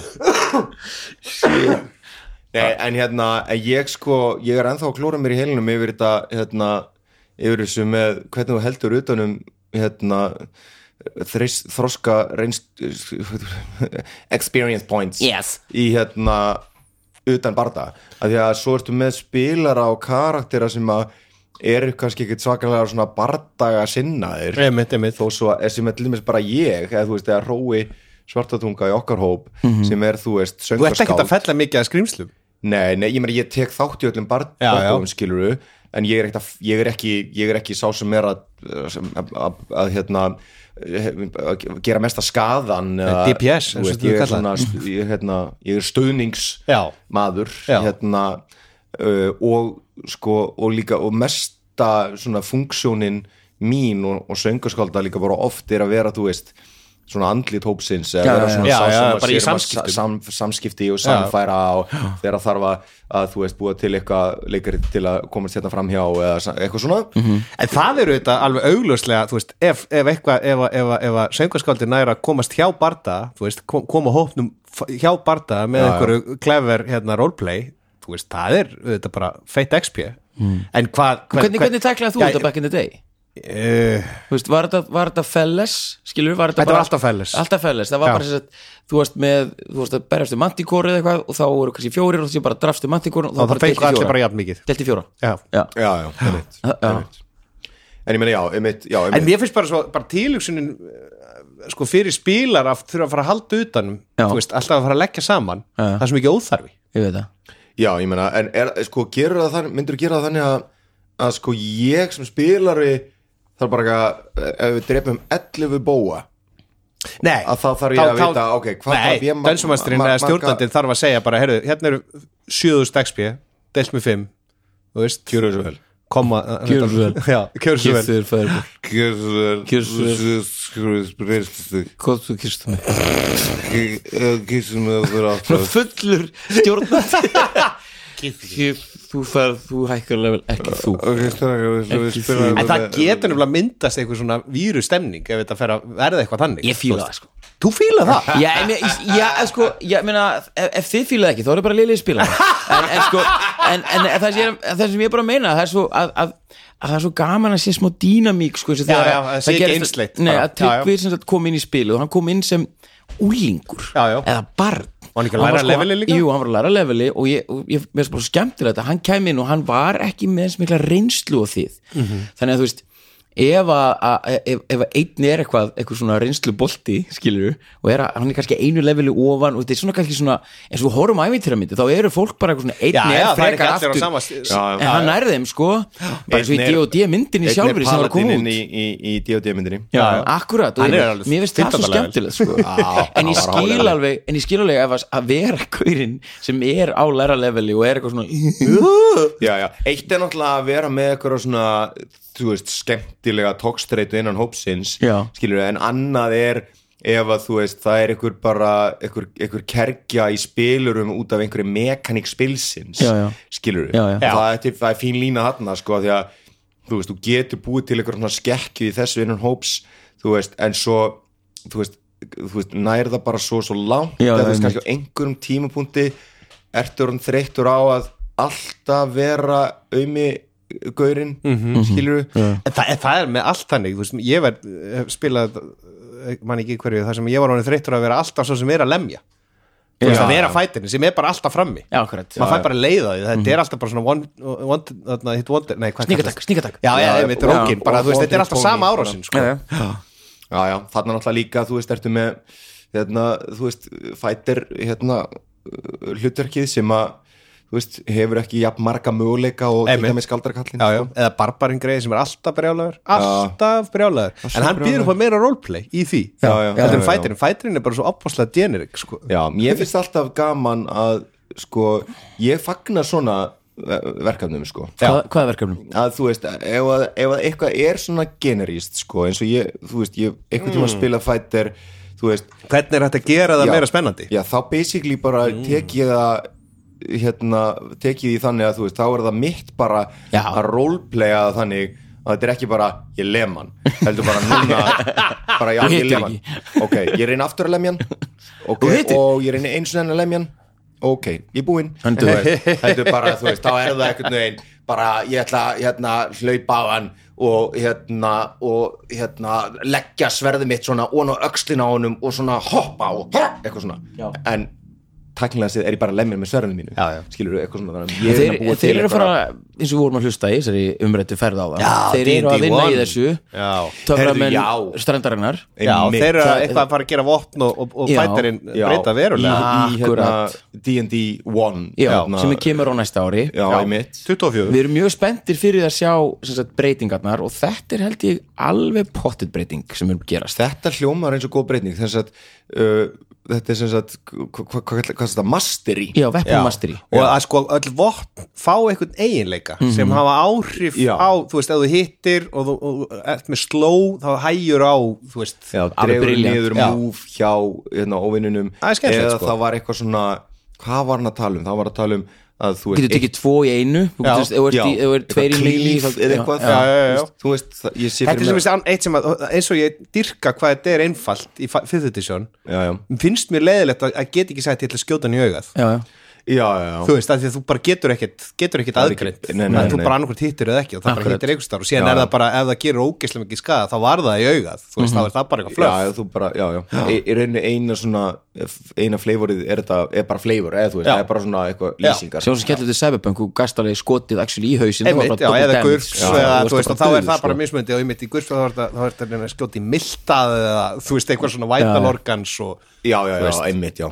Nei, en hérna en ég sko, ég er ennþá að klóra mér í heilinum yfir þetta, hérna yfir þessu með hvernig þú heldur utanum hérna þreis, þroska reynst <laughs> experience points Yes. í hérna utan barða, af því að svo ertu með spilara og karaktera sem að eru kannski ekkit svakalega svona bardaga sinnaðir einmitt, einmitt, þó svo er sem er til dæmis bara ég eða þú veist, eða Rói Svartatunga í okkar hóp sem er, þú veist, Mhm. þú ert ekkert söngaskáld að fella mikið að skrýmslum Nei, nei, ég meina ég tek þátt í öllum Já, barndóðum skiluru en ég er, ekkert að, ég, er ekki, ég er ekki sá sem er að, sem- að, að, að, hérna, að gera mesta skaðan eða- DPS, þú eins og veist, þú ég, er kallar. svona, ég, er, hérna, ég er Já. stöðningsmaður Já. hérna, uh, og, sko, og líka og mesta svona funksjónin mín og, og söngaskálda líka bara oft er að vera, þú veist svona andlit hópsins eða vera svona já. sá Já, sem já, að bara sér í um að samskiptum. sa- sam, samskipti og samfæra og þegar þarf að, að þú veist búa til eitthvað leikarið til að komast hérna fram hjá eða sa- eitthvað svona Mhm. En það eru þetta alveg augljóslega þú veist, ef, ef eitthvað, ef, ef, ef, ef söngarskáldi næra komast hjá barda þú veist, kom, koma hópnum f- hjá barda með einhverju clever hérna roleplay, þú veist, það er þetta bara feitt XP En hvað, Hmm. hvernig, hvernig tæklaði þú þetta back in the day? Uh, Þú veist, var þetta, var þetta felles? Skilur, var þetta, Þetta bara- var alltaf felles. Alltaf felles, það var Já. bara þess að þú varst með, þú varst að berjast um mantikóri eða eitthvað og þá voru kannski fjórir og því bara drafstu mantikóri og þá það feikur allir bara jafn mikið Delti fjóra Já. Já. já, já, einmitt, einmitt. en ég meina já, einmitt, já, En einmitt. mér finnst bara svo, bara tilugsunin eh, sko fyrir spilar að þurfa að fara að halda utanum, Já. þú veist, alltaf að fara að leggja saman það er svo mikið óþarfi Ég veit það já, ég meina, en er, sko, gerur það þannig myndur gera það þannig að, að sko ég sem spilari þarf bara ekki að, ef við drefum 11 bóa Nei, að þá þarf ég að vita, ok, hvað Nei, þarf ég ma- dansumasturinn ma- eða marga- stjórnandinn þarf að segja bara, heyrðu, hérna eru 7000 XP, delt með 5 þú veist, gjörðu þessu vel koma Gjörðu svo vel. Já, kjöru svo vel Kýrður fæður gjörðu Gjörðu þessu vel Hvað þú kýrstu mig? gísum með okkur Svona aftur fullur stjórnandi Þú færð, þú hækkar level, ekki þú ok, strákar, við ætlum að Ekki spila þú. En það þetta- getur nefnilega myndast eitthvað svona víru stemning ef þetta fer að verða eitthvað þannig Ég fíla Þú það, veist. sko. Þú fíla það? Já, en ég, já, en sko, já, meina, ef, ef þið fílaði ekki, þá eru bara liðlið spila en, en sko, en, en það, sem ég, það sem ég er bara að meina, það er svo að, að, að það er svo gaman að sé smá dýnamík sko, eins og Já, þegar já, að- það sé ekki gerist- einsleitt Nei, bara. að Já, já. Tryggvi sem sagt kom inn í spilu og hann kom inn sem úlingur Já, já. eða barn Var hann ekki að læra sko- leveli líka? Jú, hann var að læra leveli og ég, og ég mér er bara svo skemmtilegt að hann kæmi inn og hann var ekki með eins mikla reynslu á þið Mhm. þannig að þú veist ef að, að ef, ef að einn er eitthvað eitthvað svona reynslu bolti skilur og er að, hann er kannski einu leveli ofan og þetta er svona kannski svona eins og við horfum ævintýra myndi þá eru fólk bara eitthvað svona einn Já, er já, það er frekar ekki allir á aftur sama sti- Já, já, en hann er þeim sko bara eins og í Einn er- D&D myndinni einn er sjálfur sem var að koma paladininn út í, í, í D&D myndinni já, akkurat og Hann ég- er alveg mér finnst það svo 15. <laughs> level. skemmtilegt sko. en ég skil alveg en ég skil alveg ef að- að vera gaurinn sem er á læra leveli og er eitthvað svona já, já. eitt er náttúrulega að vera með eitthvað svona þú veist, skemmtilega tókstreitu innan hópsins Já. skilur en annað er ef að þú veist, það er einhver bara einhver, einhver kergja í spilurum út af einhverju mekaník spilsins Já, já. skilur Já, já. Það, er til- það er fín lína þarna sko, af því að þú veist, þú getur búið til einhver svona skekkju í þessu innan hóps þú veist, en svo þú veist, þú veist, nær það bara svo svo langt Já, að þú einmitt. veist, kannski á einhverjum tímapunkti ertu orðin þreyttur á að alltaf vera auðmi gaurinn, mm Mhm. -hmm. skilur En það, en það er með allt þannig, þú veist, ég var hef spilað, eh, man ekki í hverju það sem ég var ánum þreyttur að vera alltaf svo sem er að lemja þú veist, að vera fætinni sem er bara alltaf frammi já, Mhm. akkurat maður fær bara leiða því, þetta er alltaf bara svona one, one, one, hit wonder, nei hvað Sneak attack, kallast? sneak attack. já, já, Já, ég veit, og- rókin, bara og- þú veist, og- þetta er alltaf og- sama árásin sko. Já, já. já, já, þarna náttúrulega líka þú veist, ertu með hérna, þú veist, fætir hérna, uh, hlutverkið sem að þú veist, hefur ekki jafn marga möguleika og til Einmitt. dæmis sko. skaldarkallin já, já. eða barbarinn greið sem er alltaf brjálagur alltaf brjálagur, en hann býður upp á meira roleplay í því, Já, já, já, heldur en já. fætirinn fætirinn er bara svo opaslega generik sko. Já, mér finnst alltaf gaman að sko, ég fagnar svona eh, verkefnum sko Hvað, hvað er verkefnum? að þú veist, ef að, ef að eitthvað er svona generíst sko, eins og ég, þú veist, ég eitthvað Mm. tíma að spila fættir, þú veist hvernig er hægt að gera það Já. meira spennandi Já, þá basically bara Mm. tek ég það hérna, tek ég því þannig að þú veist, þá er það mitt bara Já. að roleplaya það þannig að þetta er ekki bara, ég lem hann heldur bara núna, <laughs> bara já, Þú ég hittir lem hann ok, ég reyni aftur að lemja hann okay, hittir? og ég reyni eins og enn að lemja hann ok, ég er búinn Hann Þú dugar. veist, heldur bara, þú veist, þá er það ekkert neginn, bara ég ætla að, hérna, hlaupa á hann og hérna, og hérna leggja sverðið mitt svona ón á öxlina á honum og svona hoppa og hopp, eitthvað svona, Já. en tæknilega séð er ég bara lemmin með sverðinu mínu Já, já. skilur eitthvað svona þannig að ég Þeir, er að búa til þeir eru að eitthvað- fara, eins og við vorum að hlusta í þessari umrættu ferð á það Já, Þeir eru að vinna í þessu já. Töframenn Heyrðu, já. strandarinnar Já, Einmitt. þeir eru eitthvað að fara að gera vopn og, og, og Já. fætirinn Já, breyta verulega í, í hérna, Akkurat. D&D 1 Já, hérna, sem er kemur á næsta ári já, já. einmitt 24 Við erum mjög spenntir fyrir að sjá sem sagt, breytingarnar og þetta er held ég alveg pottit breyting sem er að gerast þetta hljómar eins og góð breytning þess að uh, þetta er sem sagt hva- hva- hvað er þetta, mastery Já, Weapon Mastery og að sko öll vopn fá einhvern eiginleika sem hafa áhrif Já. á þú veist, ef þú hittir og þú og ert með sló þá hægjur á, þú veist já, Alveg dregur brilliant. niður Já. múf hjá hérna, óvinnunum Það er skemmtilegt, eða sko. það var eitthvað svona hvað var hann að tala um, það var að tala um að þú Þú getur tekið tvo í einu Þú Já. getur, ef þú ert í- ef þú ert tveir í klíf miðju, þá- eða já, eitthvað já. já, já, já. Þú veist- þú veist, það- ég sé Þetta er fyrir sem mér veist, an- eitt sem að, eins og ég dyrka hvað þetta er einfalt í 5. edition já, já, finnst mér leiðilegt að, að get ekki sagt ég ætla að skjóta hann í augað Já, já. já, já, já. þú veist, af því að þú bara getur ekkert getur ekkert Það er ekki- aðgreint, nei, nei, þú nei. bara annarkvært hittir eða ekki og það bara Akkurat. hittir einhvers þar og síðan er það bara, ef það gerir ógeðslega mikið skada þá var það í augað, Mhm. þú veist, þá er það bara eitthvað Já, flöf já, þú bara, já, já, Í- í rauninni eina svona, eina fleivorið er þetta, er bara fleivor, eða þú veist, Já. það er bara svona eitthvað Já. lýsingar Sjá sem skellur til Cyberpunk og gastalegi skotið actually í hausin einmitt, já, eða gurfs eða, þú veist, og þá er það sko. bara mismundi og einmitt í gurfs þá er það- þá er það að reyna að skjóta í miltað eða, þú veist, eitthvað svona vital organs og, Já, já, já, einmitt, já,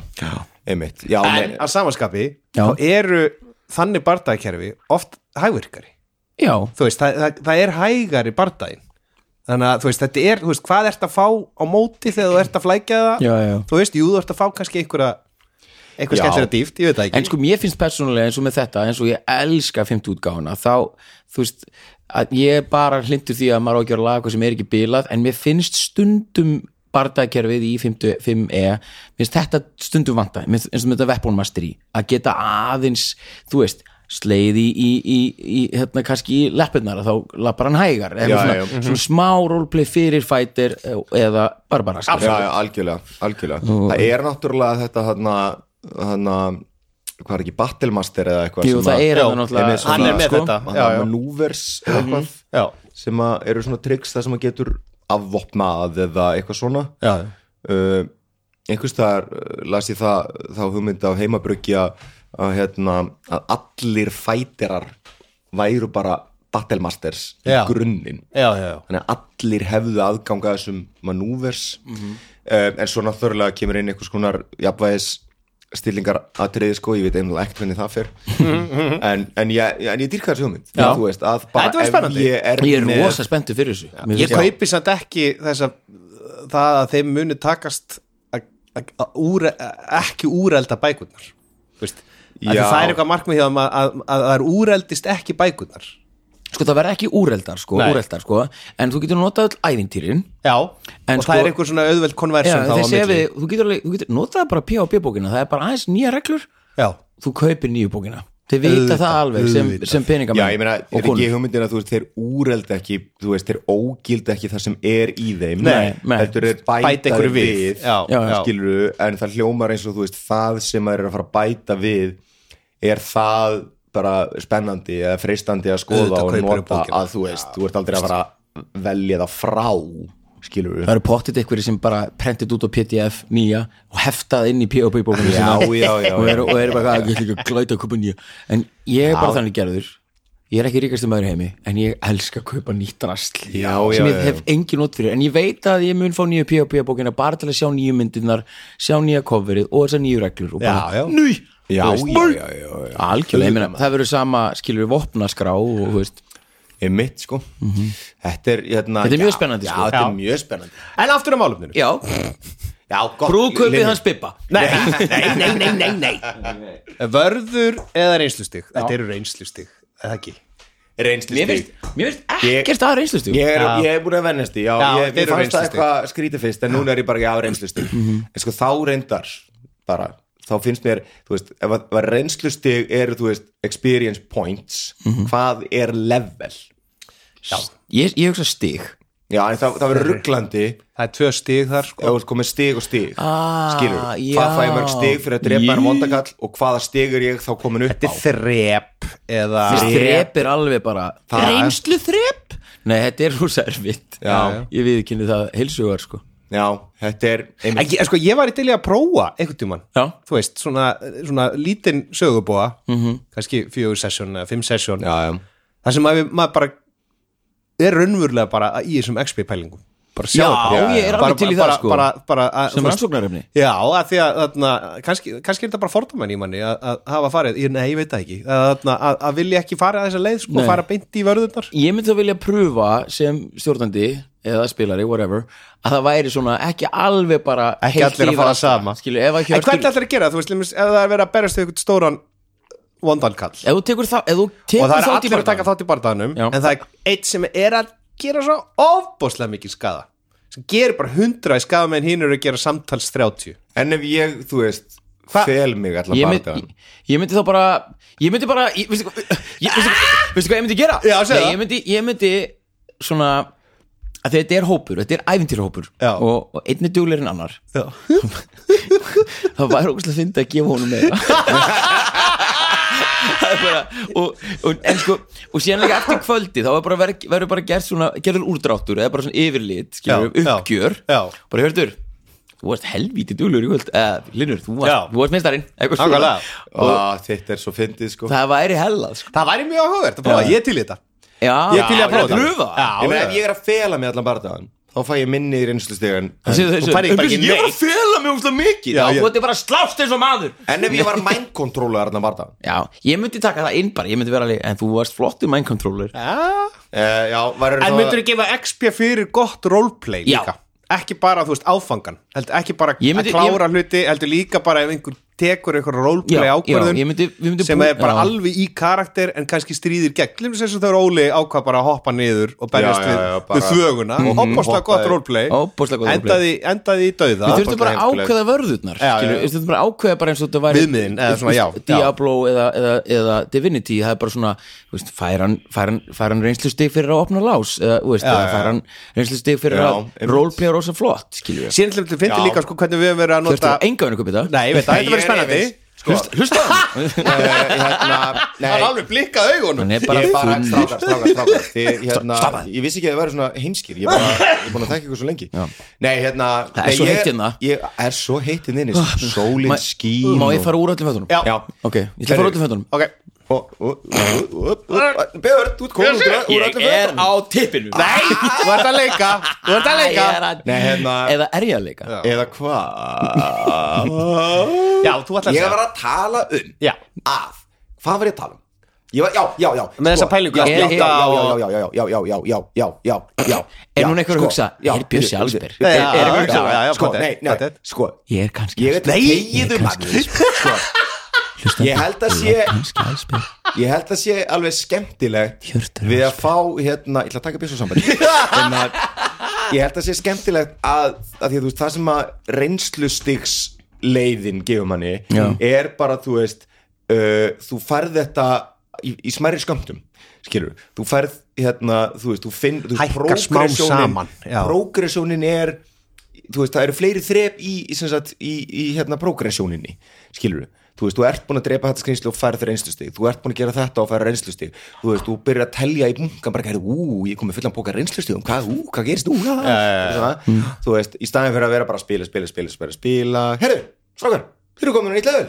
einmitt Já, en nei, að samanskapi, Já. þá eru þannig barndagkerfi oft hægvirkari Já, þú veist, það, það, það er hægari bardaginn þannig að þú veist, þetta er, þú veist, hvað ert að fá á móti þegar þú ert að flækja það Já, já. þú veist, jú, þú ert að fá kannski einhverja einhver Já. skemmtilega dýft, ég veit það ekki en sko mér finnst persónulega eins og með þetta eins og ég elska 50 útgáfuna þá, þú veist, að ég er bara hlindur því að maður á ekki að gera lag eitthvað sem er ekki bilað en mér finnst stundum bardakerfið í 55e finnst þetta stundum vanta mér- eins og með þetta weapon mastery að geta aðeins, þú veist sleiði í, í, í, í hérna kannski í leppurnar að þá lappar hann hægar eða Já, svona, já, Mhm. svona smá roleplay fyrir fighter eh, eða barbara skilur. já, já, algjörlega, algjörlega Það er náttúrulega þetta þarna, þarna hvað er ekki, Battlemaster eða eitthvað Jú, sem það að- er hann með náttúrulega svona- hann er með sko, þetta, hann já, er já. Mhm. með Maneuvers eða eitthvað já, sem að eru svona tricks það sem að getur afvopnað eða eitthvað svona já, uh, einhvers staðar uh, las ég það þá hugmynd á heimabrugja að, hérna, að allir fætirar væru bara battlemasters í Já. grunninn já, já, já. þannig að allir hefðu aðganga þessum manúvers um, en svo náttúrulega kemur inn einhvers konar jafnvæðis stillingar atriði sko, ég veit einhverjum ekkert hvernig það fer en, en, ég, en ég dýrka þessu hugmynd Mhm. Já. þú veist, að bara Þetta var spennandi. ef ég er, ég er með- rosa spenntu fyrir þessu Mér ég finnst- kaupi samt ekki þess að það að þeim muni takast að, að, að úr, ekki úrelda bækurnar þú veist, Af því Já. það er eitthvað markmið hjá þeim að, að, að það er úreldist ekki bækurnar sko það verða ekki úreldar sko, Nei. úreldar sko en þú getur notað öll ævintýrin já, En og það sko- er einhver svona auðveld Já, konversum þá á þessi ef milli við, þú getur, alveg- þú getur notað bara P.O.B. bókina, það er bara aðeins nýja reglur já, þú kaupir nýju bókina þeir vita það alveg sem, sem peningamenn Já, ég meina, og er ekki konur. hugmyndin að þú veist, þeir úrelda ekki þú veist, þeir ógilda ekki það sem er í þeim Nei, nei. heldur þeir bæta, Bæta einhverju við. Já, já, já. skilurðu, en það hljómar eins og þú veist, það sem maður er að fara að bæta við er það bara spennandi eða freistandi að skoða Auðvitað og kaupirðu nota bókina. að þú veist, þú ert aldrei að fara að velja það frá skilur það eru pottit einhverjir sem bara prentið út á PDF nýja og heftað inn í P.O.B. bókina Já, sína já, já, og "Ah, já. eru og er bara, hvað, ég ætla ekki að glæta að kaupa nýja en ég er bara þannig gerður ég er ekki ríkast maður í heimi en ég elska að kaupa nýtt rasl Já, sem já, ég já, hef engin út fyrir en ég veit að ég mun fá nýju P.O.P. bókina bara til að sjá nýju myndirnar sjá nýja coverið og þessar nýju reglur og bara, Já, já. ný Já, Þú veist, já, já, já, já. algjörlega, ég meina, það verður sama skilur við vopnaskrá og þú veist er mitt sko þetta er hérna Mhm. Þetta er mjög já, spennandi, já, sko. þetta Já. er mjög spennandi En aftur á málumninu já, já, gott brúðkaupið Linja. hans Bibba nei, nei, nei, nei, nei, nei Vörður eða reynslustig Þetta eru reynslustig, eða ekki mér reynslustig finnst, mér finnst ekkert að reynslustjú ég er, ég er búin að vennast því já, Já, ég, þetta ég eru Mhm. fannst það reynslustig. eitthvað skrítið fyrst en núna er ég bara ekki á reynslustig en sko þá reyndar bara, þá finnst mér, þú veist ef að, ef að reynslustig eru, þú veist, experience points Mhm. hvað er level ég, ég hugsa stig já, en það, það verður rugglandi Það er tvö stig þar sko. ef þú ert komið stig og stig Ah, skilur, já. hvað fæ ég mörg stig fyrir að drepa Jí. hann vondakall og hvaða stig er ég þá komin upp Þetta er þrep eða þrep er alveg bara Það- reynslu þrep nei, þetta er hús erfitt Já. ég viðkynni það heilsugar sko já, þetta er einmitt, Ekki, sko, ég var í til í að prófa einhvern tímann Já. þú veist, svona, svona lítinn sögubóa Mhm. -hmm. kannski fjögur sessjón eða fimm sessjón já, já það sem að við, maður bara er raunverulega bara í þessum XP pælingum bara Já, sjá þetta. já, ég er Bara- alveg til í bara- það, sko. bara, bara, að, Sem þú veist- rannsóknarefni. já, að því að þarna, kannski, kannski er þetta bara fordómenn í manni að, að hafa farið, ég, nei, ég veit það ekki að, þarna, að, að vilja ekki fara að þessa leið sko, Nei. fara beint í vörðunar ég myndi þá vilja pröfa sem stjórnandi eða spilari, whatever að það væri svona ekki alveg bara Ekki heilt allir að yfir fara allt. sama. skilur, ef að en hvernig hjörtur ætlar að gera, þú veist, til dæmis, ef það er verið að berjast við einhvern stóran vondankall ef þú tekur þá ef þú og tekur það er þátt í allir að taka bardaganum- þátt í barðanum Já. en það er eitt sem er að gera svo ofbóðslega mikið skada sem gerir bara hundra í skada meðan hinn eru að gera samtals 30 en ef ég, þú veist, Hva- fel mig allan ég, mynd, bardagann ég, ég myndi þá bara ég myndi bara ég, veistu, hvað- ég, veistu, hvað- veistu hvað ég myndi gera? Já, segðu það. Nei, ég, myndi, ég myndi svona að þetta er hópur, þetta er æfintýrahópur Já. og, og einn er dugleir en annar Já. <laughs> það væri ógustlega fyndi að gefa honum meira <laughs> Það er bara, og, og, en sko, og síðan líka eftir kvöldi þá er bara verið, verið bara gert svona gerður úrdráttur eða bara svona yfirlit skilur, Já, já, uppgjör já. bara hörður þú varst helvítið duglur í kvöld eða Linur, þú Já. varst, þú varst meistarinn eitthvað svona. Nákvæmlega. og Á, þetta er svo fyndið sko það væri hellað sko. það væri mjög áhugavert að prófa, Já. ég er til í þetta já, ég er til í að prófa þetta. þetta. Prufa. Ég meina, já, ef já. ég er að fela mig allan bardagann þá fæ ég minni í reynslustegan Það séu þessu. Þú færð ekki bara Um, ekki ég var að neitt. fela mig umslega mikið Já, já, ég- þú ætti bara að slást eins og maður en ef ég var mindkontróla allan bardagann já, ég myndi taka það inn bara ég myndi vera alveg, en þú varst flottu mind controller uh, já, væri en myndur þú gefa XP fyrir gott roleplay Já. líka ekki bara, þú veist, áfangan heldur ekki bara Ég myndi- að klára hluti heldur líka bara ef einhver tekur einhver roleplay Já, ákvörðun já, ég myndi- ég myndi sem bú- er bara já. alveg í karakter en kannski stríðir gegn, glimur þess að þau eru óli ákvað bara að hoppa niður og Já, berjast já, við, já, bara- við þvöguna og opbóðslega gott Hoppaði- roleplay Ofboðslega gott endaði, endaði í dauða Við þurftum bara að skemmtilegt. ákveða vörðurnar Já, já, skilur, já. við þurftum bara að ákveða bara eins og þetta væri Viðmiðin, eða svona, já, já. Diablo Eða, eða, eða Divinity, það er bara svona þú veist, fær hann, fær hann, fær hann reynslustig fyrir að opna lás eða, þú veist, eða fær hann reynslustig fyrir Já, að einmitt. roleplaya rosa flott skilur við, síðan hlutum finnir Já. líka sko, hvernig við höfum verið að þú ert nota að enga unni kupið það nei, ég veit það, þetta verið spennandi sko, Hlust, hlusta á hann uh, hérna, nei, hann alveg blikkað augunum hann er bara ég er bara full- strákar, strákar, strákar Þið, hérna, ég vissi ekki að það væri svona heimskir ég er bara, ég er búin að þekka ykkur svo lengi nei, hérna, Það er nei, svo ég- heitt hérna. ég er svo heitt hérna inni, sko. Ma- sólin skín má ég og- fara úr öllum fötunum? Já. já, ok, ég ætla að fara um úr öllum fötunum ok, Björn, þú ert komin út um úr- úr öllum fötunum. tippinu nei, þú ert að leika þú ert að leika Nei, hérna- eða er ég að leika? eða hvað já, þú ætlar að ég segja var að tala um já, að, hvað var ég að tala um ég var, já, já, já Sko, Með þessa pælingu já, að já, já, fljóta já, já, já, já, já, já, já, já, já, já Er já, hún einhver að sko, hugsa, já, er Bjössi bíddu, allsber? bíddu, Er- já, er einhver að hugsa, já, já, já, sko, potent, nei, nei, potent. sko ég er kannski ég veit allsber. tegið um allir sko, Hlustandi, Ég held að ég sé- er kannski allsber. ég held að sé alveg skemmtilegt Hjörtur við að fá, hérna, ég ætla að taka Bjössi <laughs> saman en að ég held að sé skemmtilegt að, að því að þú veist, það sem að reynslustigs leiðin gefur manni Já. er bara, þú veist uh, þú færð þetta í, í smærri skömmtum skilur, þú færð hérna, þú veist, þú finn þú veist, Hækkar smám progressionin- saman, já. progressionin er þú veist, það eru fleiri þrep í, í, sem sagt, í, í hérna progressioninni skilur Þú veist, þú ert búin að drepa þetta skrýnslu og færð reynslustig, þú ert búin að gera þetta og færð reynslustig, þú veist, þú byrjar að telja í bunkan bara, heyrðu, ú, ég kom með fullan póka reynslustigum, hvað, ú, hvað gerist, ú, já, já, Mm. já, já. þú veist, í staðin fyrir að vera bara að spila, spila, spila, spila, spila, heyrðu, strákar, þeir eru komin á nýtt level,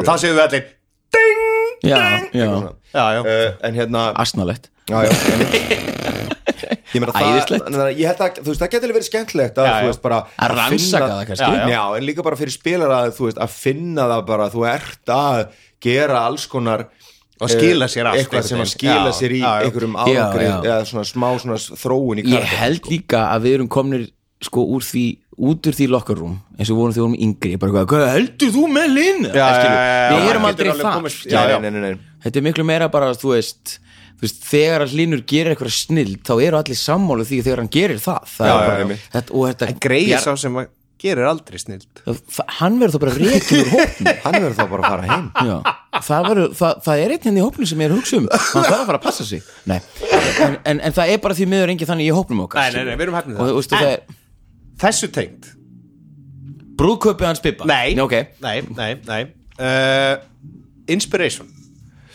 og þá segjum við allir ding já, já, já, já, uh, en hérna asnalegt já, já, einmitt. ég meina Æðislegt. það en ég held að þú veist það getur verið skemmtilegt að Já, þú já. veist bara Að rannsaka finna- það kannski. já, já. en líka bara fyrir spilar að þú veist að finna það bara að þú ert að gera alls konar eh, Og skila sér allt eitthvað einhvern sem að veginn. skila Já, sér í já, já. einhverjum Já, árangri já. eða svona smá svona þróun í ég karakter sko. held líka að við erum komnir sko úr því, út úr því lokkarrúm eins og vorum þegar við vorum yngri, bara hvað, hvað heldur þú með linn? Já, já, já, já, við já, erum maður aldrei getur alveg það komist- já, Já, já. já. Nei, nei, nei, nei. þetta er miklu meira bara, þú veist, þú veist þegar að Linur gerir eitthvað snild þá eru allir sammálu því þegar hann gerir það, það Já, er já, bara, einmitt. þetta, og þetta en greið sá sem að gerir aldrei snild Bjar- hann verður þá bara reikið úr <laughs> hópnum hann verður þá bara að fara heim Já, það, veru, það, það er einn henni í hópnum sem ég er að hugsa um hann þarf að fara að passa sig Nei. en, en, en það er bara því miður engin þannig í hópnum okkar Nei, nei, nei, við erum og hefnir það þú veist það er Þessu tengt brúðköpið hans Bibba Nei, Nei, ok. nei, nei, nei. Uh, Inspiration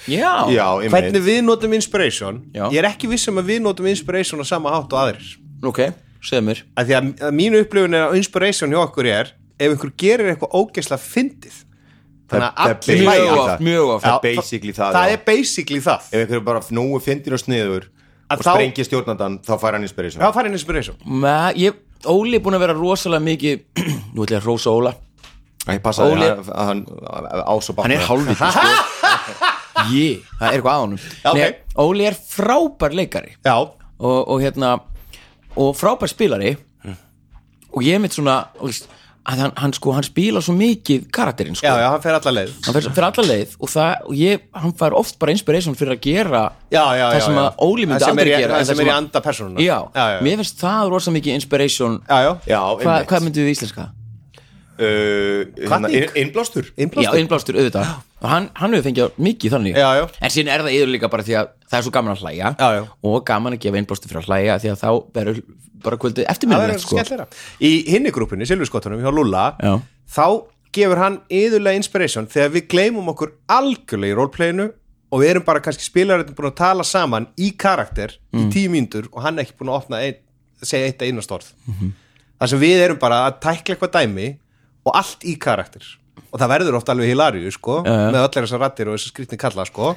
Já, já, einmitt. Hvernig við notum inspiration Já. Ég er ekki viss um að við notum inspiration á sama hátt og aðrir ok, segðu mér að því að, að mínu upplifun er að inspiration hjá okkur er ef einhver gerir eitthvað ógeðslega fyndið þannig að það er allir hlæja. basically oft, það. mjög oft. það er Já, basically það það já. er basically það ef einhverju bara nógu fyndir og sniður Að og þá- sprengir stjórnandan þá fær hann inspiration það er farin inspiration Ma, ég, Óli er búin að vera rosalega mikið <clears throat> nú ætla ég að rosa Óla Ég passa Óli- að að hann ás og hann bakna er hálfviti sko. yeah, það er eitthvað á honum ok. Nei, Óli er frábær leikari já, og, og hérna og frábær spilari Mm. og ég er mitt svona og veist, að hann, hann sko, hann spilar svo mikið karakterinn sko, já, já, hann fer allar leið hann fer, fer alla leið og, það, og ég, hann fær oft bara inspiration fyrir að gera já, já, það já, sem já. að Óli myndi Það sem er aldrei í- gera en það sem er í að- anda persónuna já, já, já, já, mér finnst það rosa mikið inspiration já, Já, Hva, einmitt hvað myndum við íslenska? uh, hérna, Hvatning? inn- Innblástur Já, Innblástur. innblástur, auðvitað og hann, hann hefur fengið mikið þannig Já, já. en síðan er það yfir líka bara því að það er svo gaman að hlæja Já, já. og gaman að gefa innblástur fyrir að hlæja því að þá verður bara kvöldið það er eftirminnilegt sko. skellera í hinni grúpinni, Silviskottunum hjá Lúlla Já. þá gefur hann yðurlega inspiration þegar við gleymum okkur algjörlega í roleplayinu og við erum bara kannski spilarinn búin að tala saman í karakter í tíu mínútur og hann er ekki búin að opna ein, segja eitt einast orð þar sem við erum bara að tækla eitthvað dæmi og allt í karakter og það verður ofta alveg hilarju sko, með öllir þessar rattir og þessar skrýtni kalla sko.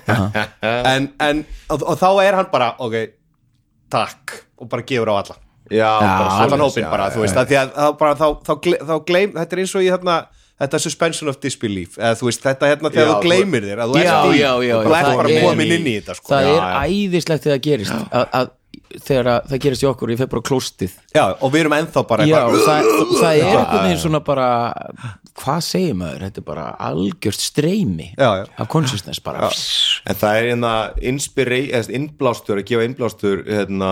en, en og, og þá er hann bara, ok, takk og bara gefur á alla Ah, Já, allan hópin bara, þú veist, að því að þá, bara, þá, þá, gle- þá gleym, þetta er eins og í þarna þetta suspension of disbelief eða þú veist, þetta hérna þegar Já, þú þú- gleymir þér að þú Já, ert í, já, já, þú já, ert það bara er- komin inn í þetta sko. það já, er æðislegt þegar það gerist að, að þegar að, það gerist í okkur ég fer bara á klóstið já, og við erum ennþá bara Já, eitthvað- það, það er eitthvað neginn svona bara hvað segir maður, þetta er bara algjört streymi Já, já. af consciousness bara En það er hérna inspira- eða þess, innblástur að gefa innblástur hérna,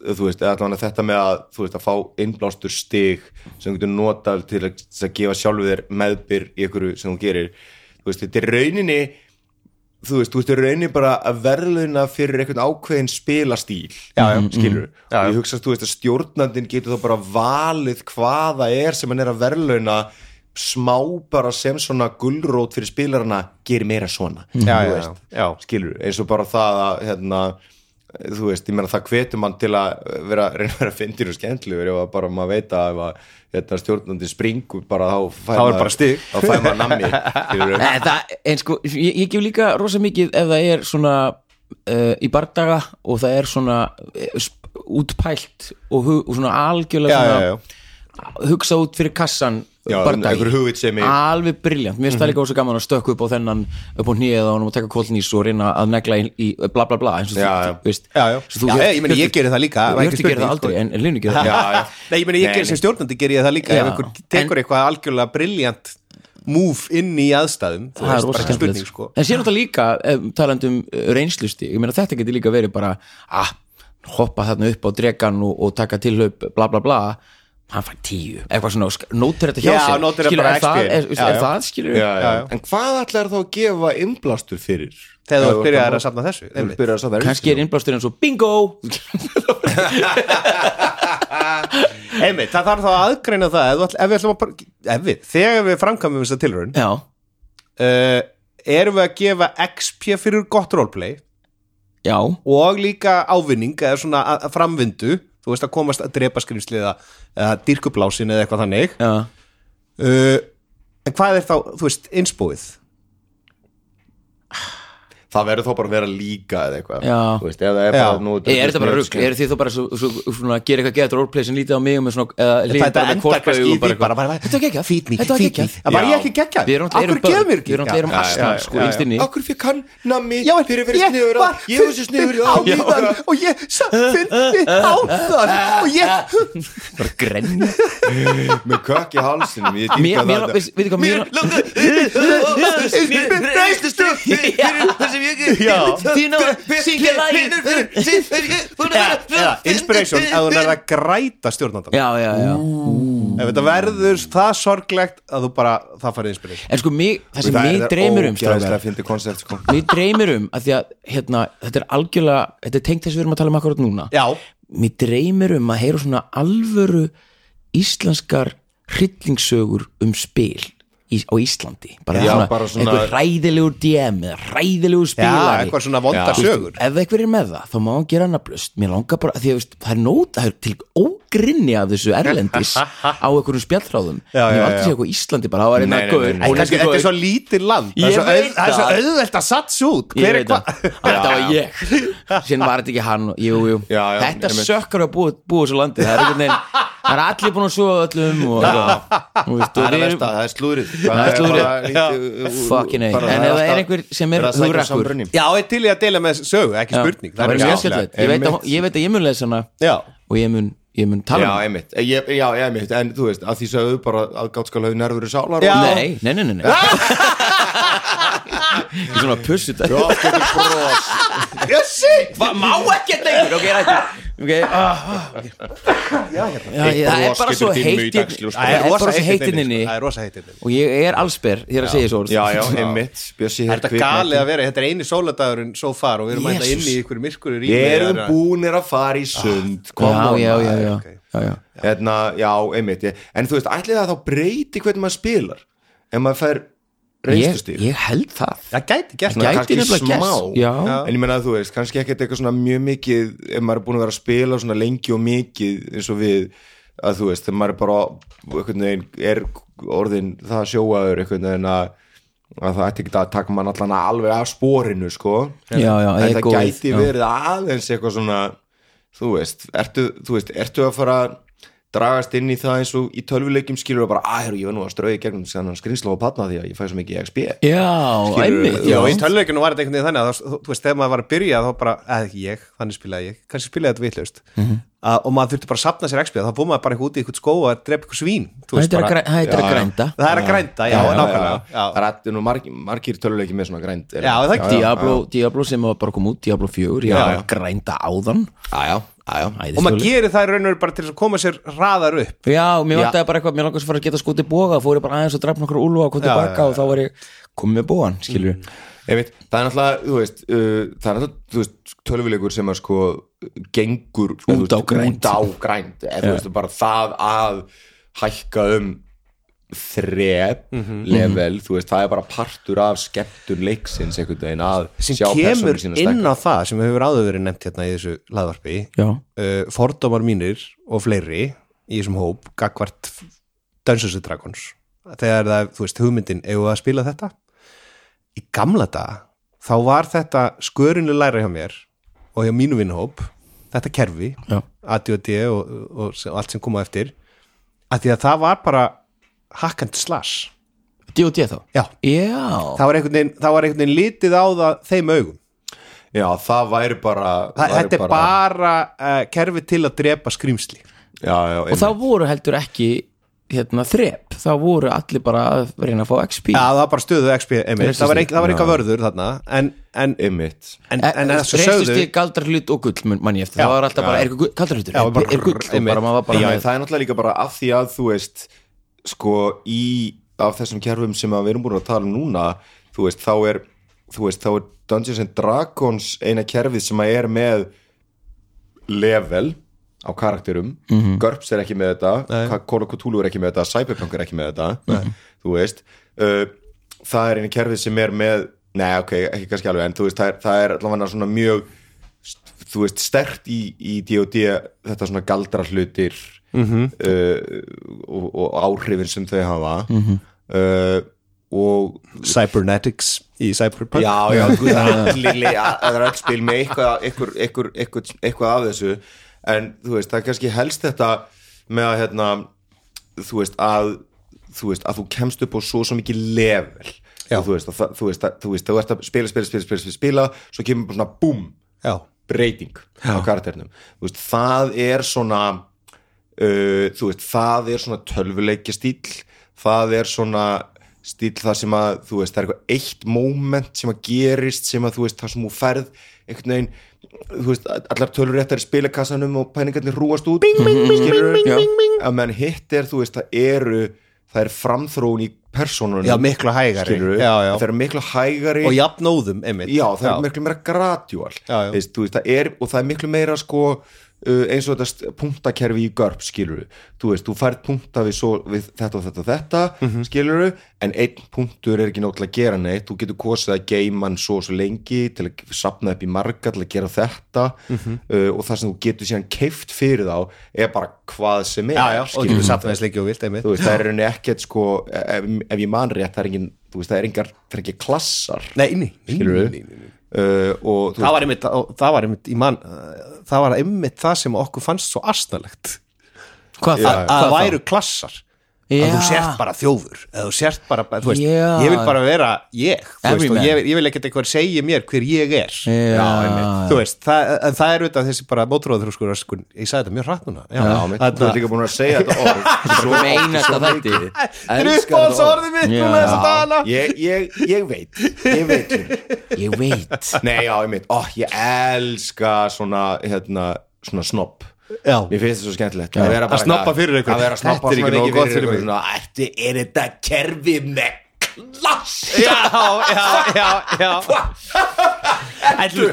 þú veist, eða allan að þetta með að þú veist, að fá innblástur stig sem þú getur notað til að, til að gefa sjálfu þér meðbyr í einhverju sem þú gerir þú veist, þetta er rauninni þú veist, þú veist, þetta er rauninni bara að verðluna fyrir einhvern ákveðin spilastíl já, já. skilur, já, og ég hugsa þú veist að stjórnandinn getur þá bara valið hvaða er sem hann er að verðluna smá bara sem svona gullrót fyrir spilarana, ger meira svona já, þú já, já, veist já, skilur, eins og bara það að hérna, þú veist, ég meina það hvetur mann til að vera, reyna að vera fyndir og skemmtlugur ef að bara maður veit að ef að hérna, stjórnandi springur bara þá fær Þá er maður- bara stig. þá fær maður nammi skilurðu. Nei, það, en sko, ég, ég gef líka rosa mikið ef það er svona uh, í bardaga og það er svona uh, sp- útpælt og, hu, og svona algjörlega <laughs> Já, svona, já, já. hugsa út fyrir kassan Já, bardagi. einhver hugvitsemi. alveg briljant, mér Mhm. finnst það líka ósa gaman að stökku upp á þennan upp á hnýið á honum og taka kólnís og reyna að negla í, í bla bla bla eins og þú, Já, já. þú veist já, já. Svo þú já, hefur- ég meni ég gerir það líka Þú ekki hefur gerði það spurning, sko. aldrei, en Linu <laughs> gerði það já, já. Nei, ég meni Nei, ég gerir nei. sem stjórnandi gerir ég það Já. líka ef einhver tekur eitthvað algjörlega brilljant move inn í aðstæðum þú það er veist, bara rosa ekki skemmtilegt spurning sko. en sér þetta líka um, talandum reynslusti ég meina þetta getur líka verið bara ah, hoppa þarna upp á dregan og, og taka tilhaup bla bla bla hann fær tíu, eitthvað svona og sk- nótir þetta hjá Já, sér nótir þetta Skilur, bara er það, XP. er, Já, er já. það skilur Já, já. Já, já. en hvað ætlar þá að gefa innblástur fyrir þegar Ef þú byrjar ert að safna þessu ef einmitt. þú byrjar að safna kannski er innblásturinn svo bingo <laughs> Einmitt, það þarf þá að aðgreina það ef, þú ætl- ef við ætlum að bara- ef við, þegar við framkvæmum þessa tilraun já, uh, erum við að gefa XP fyrir gott roleplay já, og líka ávinning eða svona að- að framvindu þú veist að komast að drepa skrýmsli eða, eða dýrkublásin eða eitthvað þannig já uh, en hvað er þá, þú veist, innspóið það verður þá bara að vera líka eða eitthvað Já. Þú veist, ef það er Já. bara nú Ég, er þetta bara rugg, er þið þá bara svo, svo, svona, að gera eitthvað getur roleplay sem lítið á mig og með svona, eða hlýn Þetta bara með endar kvorka kannski í augum því bara, bara, bara, bara, Þetta er geggjað, feed me, þetta var feed me. geggjað Já, bara ég ekki geggjað? Við erum Af hverju alltaf erum gefur mér börn, ekki? við erum alltaf erum Já, asnar sko, innst inni Akkur fyrir kann nammi Já, en fyrir fyrir ég sniður var Ég var svo sniður fyndin á víðan og ég <laughs> fyndi á þann og ég Bara grenja Með kökk í halsinum Ég Mér, mér, veist veitu hvað, mér <laughs> dýrka það Þínu, syngja lagið Eða, inspiration, ef þú verður að græta stjórnandan Já, já, já Mm. ef þetta verður það sorglegt að þú bara, það farið inspiration En sko, mig, það sem Það er- mig dreymir um Það er ógæðslega strákar, að fyndi koncept sko Mig dreymir um, að því að hérna, þetta er algjörlega, þetta er tengt þess að við erum að tala um akkurat núna Já, Mér dreymir um að heyra svona alvöru íslenskar hryllingssögur um spil í, á Íslandi bara, Já, svona, bara svona- einhver ræðilegur DM eða ræðilegur já, spilari eitthvað svona vondar Já. sögur ef einhver er með það, þá má hann gera nafnlust mér langar bara, því að veist, það er nóta það er til ógrinni af þessu <laughs> erlendis á einhverjum spjallráðum Já, ég já, hef aldrei já. séð eitthvað í Íslandi bara, það var Nei, einhver nei, gaur, nei, nei. ónefndur Þetta gaur. er svo lítið land Það Ég er svo veit auð- það er svo það. auðvelt að satsa út Ég Hver er veit það, hvað? þetta var ég Síðan var þetta ekki hann og- jú, jú. Já, já, Þetta einmitt. sökkar að búa, búa þessu landi Það er einhvern veginn Það er allir búin að sofa öllum og, og, veist, og Það er við versta, erum það er slúrið Það er slúðrið. Fucking Fucking A. En ef það er einhver sem er hugrakkur Já, ég er til í að deila með sögu, ekki Já, spurning Það verður ekki mjög ástæða. skemmtilegt Ég veit að- Ég veit að ég mun lesa hana Já, Og ég mun, ég mun tala um Já, hana einmitt, Eh, ég, já, einmitt, en þú veist, að því sögðu bara að gátskal hafði nervuru sálar Já. Nei, nei, nei, nei, nei. Ég er svona pussu þetta og aftur bros jössi Va- má ekkert lengur ok, rættu ok ah, ok. Já, já, það er bros bara getur svo dimmu í heitt í- dagsljós. það er bara svo heitt inn inni sko. Það er rosa heitinninni og ég er allsber þegar að segja þessu orð Já, já, einmitt, Bjössi Er þetta galið að vera, þetta er eini sóladagurinn so far og við erum að Jesus. inn í ykkur myrkur í Við erum búnir að fara í sund já, Kom on, já, já, maður. já, ok. já, já. Hérna, já, einmitt ég, En þú veist, ætli það þá breyti hvernig maður spilar En maður fær Ég, reynstustíf ég held það Það gæti gert Gæti kannski nefnilega smá. gerst, já. En ég meina að þú veist, kannski ekkert eitthvað svona mjög mikið ef maður er búin að vera að spila svona lengi og mikið eins og við að þú veist, þegar maður er bara einhvern veginn er orðin það sjóaður einhvern veginn að, að það ætti ekki að taka mann allan alveg af spórinu sko Já, já, en það egoið, gæti já. verið aðeins eitthvað svona þú veist, ertu, þú veist, ertu að fara að dragast inn í það eins og í tölvuleikjum skilur bara, að herru, ég var nú að strauði gegnum sannan skrýnsla og patna því að ég fæ svo mikið XP já, einmitt Já, já. í tölvökinu var þetta einhvern veginn þannig að það- þú þú veist, þegar maður var að byrja þá bara, eða ég, þannig spilaði ég kannski spilaði þetta vitlaust Að- og maður þurfti bara að sapna sér XP þá fór maður bara eitthvað út í eitthvað skó að drepa eitthvað svín þú veist Þetta er að bara- græ- það er að Já, já. grænda Það er að grænda, já, nákvæmlega Já, það er allir nú margir, margir töluleiki með svona grænt er- Já, það er Diablo, Diablo sem var bara kom út, Diablo 4 Já, Já, já. grænda áðan já, já, já, já. Og maður gerir það í raun og veru bara til þess að koma sér hraðar upp Já, mér Já. vantaði bara eitthvað, mér langast að fara að geta skotið boga fór ég bara aðeins og drafna okkur úlfa og kom tilbaka og þá var ég komið með bógan, skilur Einmitt, það er náttúrulega, þú veist, uh, það er náttúrulega þú veist, tölvuleikur sem að sko gengur eða, þú Út á veist, grænt. út á grænt eða, þú veist, bara það að hækka um þrep Mhm. level, þú veist, það er bara partur af skemmtun leiksins einhvern veginn að sem sjá kemur persónu sína inn stækka á það sem hefur áður verið nefnt hérna í þessu laðvarpi Já, uh, fordómar mínir og fleiri í þessum hóp gagvart Dungeons and Dragons þegar það, þú veist, hugmyndin eigum við að spila þetta í gamla daga þá var þetta skörinu læra hjá mér og hjá mínu vinnhóp þetta kerfi, Já. ADOD og, og, og allt sem koma á eftir að því að það var bara hack and slash D.O.D. þá Já. Já, það var einhvern veginn, það var einhvern veginn litið á það þeim augum Já, það væri bara Þa, væri þetta er bara, uh, kerfi til að drepa skrýmsli já, já, og þá voru heldur ekki hérna þrep, þá voru allir bara að reyna að fá XP Já, það var bara stöðu XP einmitt. Reistustig. Það var, ein, það var eitthvað vörður þarna En, en, einmitt en, Eh, en þessu sögðu reistustig galdrahlut og gull mun- man ég eftir, Já. það var alltaf bara, er gull- galdrahlutur Já, bara- er, er gull, og einmitt. bara maður var bara Já, en með það er náttúrulega líka bara af því að þú veist sko í af þessum kerfum sem að við erum búin að tala um núna þú veist þá er þú veist þá er Dungeons and Dragons eina kerfið sem að er með level á karakterum Mhm. GURPS er ekki með þetta Call of Cthulhu er ekki með þetta, Cyberpunk er ekki með þetta þú veist uh, það er einu kerfið sem er með nei ok, ekki kannski alveg en þú veist það er, það er allavega svona mjög þú veist, stert í, í D.O.D. þetta svona uh, galdra hlutir Mhm. Mhm. mm -hmm. og, og áhrifin sem þau hafa mm -hmm. og Cybernetics í Cyberpunk já, <laughs> já, guð, það er allir le- það er öll spil með eitthvað, eitthvað, eitthvað, eitthvað, eitthvað af þessu en þú veist, það er kannski helst þetta með að hérna, þú veist að þú veist, að þú kemst upp á svo svo mikið level og, þú veist, að, það- þú veist, að, þú veist, þú ert að spila, spila, spila, spila, spila, spila svo kemur bara svona búm Já. breyting á karakternum Þú veist, það er svona uh, þú veist, það er svona tölvuleikja stíl það er svona stíl það sem að þú veist, það er eitthvað eitt moment sem að gerist sem að þú veist, það sem þú ferð einhvern veginn, þú veist, allar tölur réttar í spilakassanum og pæningarnir rúast út bing, bing, bing, bing, bing, bing, bing að menn hitt er, þú veist, það eru það er framþróun í persónunum Já, miklu hægari. skilurðu. Já, já. það eru miklu hægari og jafnóðum einmitt já, það er miklu meira gradjúal Já, já. Veist, þú veist, það er, og það er miklu meira sko, uh, eins og þetta st- punktakerfi í görp skiluru, þú veist, þú færð punkta við, svo, við þetta og þetta og þetta mm Mhm. en einn punktur er ekki nóg til að gera neitt, þú getur kosið að geima hann svo og svo lengi til að sapna upp í marga til að gera þetta Mhm. uh, og það sem þú getur síðan keift fyrir þá er bara hvað sem er já, já, og skilurðu. getur safnaðis lengi og vilt einmitt þú veist, það er í rauninni ekkert sko, ef, ef ég man rétt, það er engin þú veist, það er engar, það er ekki klassar Nei, nei, skilur nei, við nei, nei. uh, og þú það var einmitt, og það var einmitt í mann uh, það var einmitt það sem okkur fannst svo astnalegt Hvað að það? það væru klassar að þú sért bara þjófur eða þú sért bara, þú veist, Já. ég vil bara vera ég, þú veist, Everyman. og ég, vil- ég vil ekkert eitthvað segja mér hver ég er Já. einmitt. þú veist, það, en það er auðvitað þessi bara mótróður, sko, sko, ég sagði þetta mjög hratt núna já, Já, mitt, þú ert líka búin að segja þetta orð <laughs> Svo oft, Meina svo þetta mikið. þetta Uppáhalds orðið mitt Já. núna þessa dagana ég, ég, ég veit Ég veit Ég veit Nei, já, ég veit, ó, ég elska svona, hérna, svona snopp Já. Mér finnst þetta svo skemmtilegt Að vera bara- snobba fyrir ykkur. Að vera að snoppa Þetta er ekki svona nógu mikið gott fyrir fyrir ykkur mig. Svona, Ættu, er þetta kerfi með klass já, já, já, já Ætlu,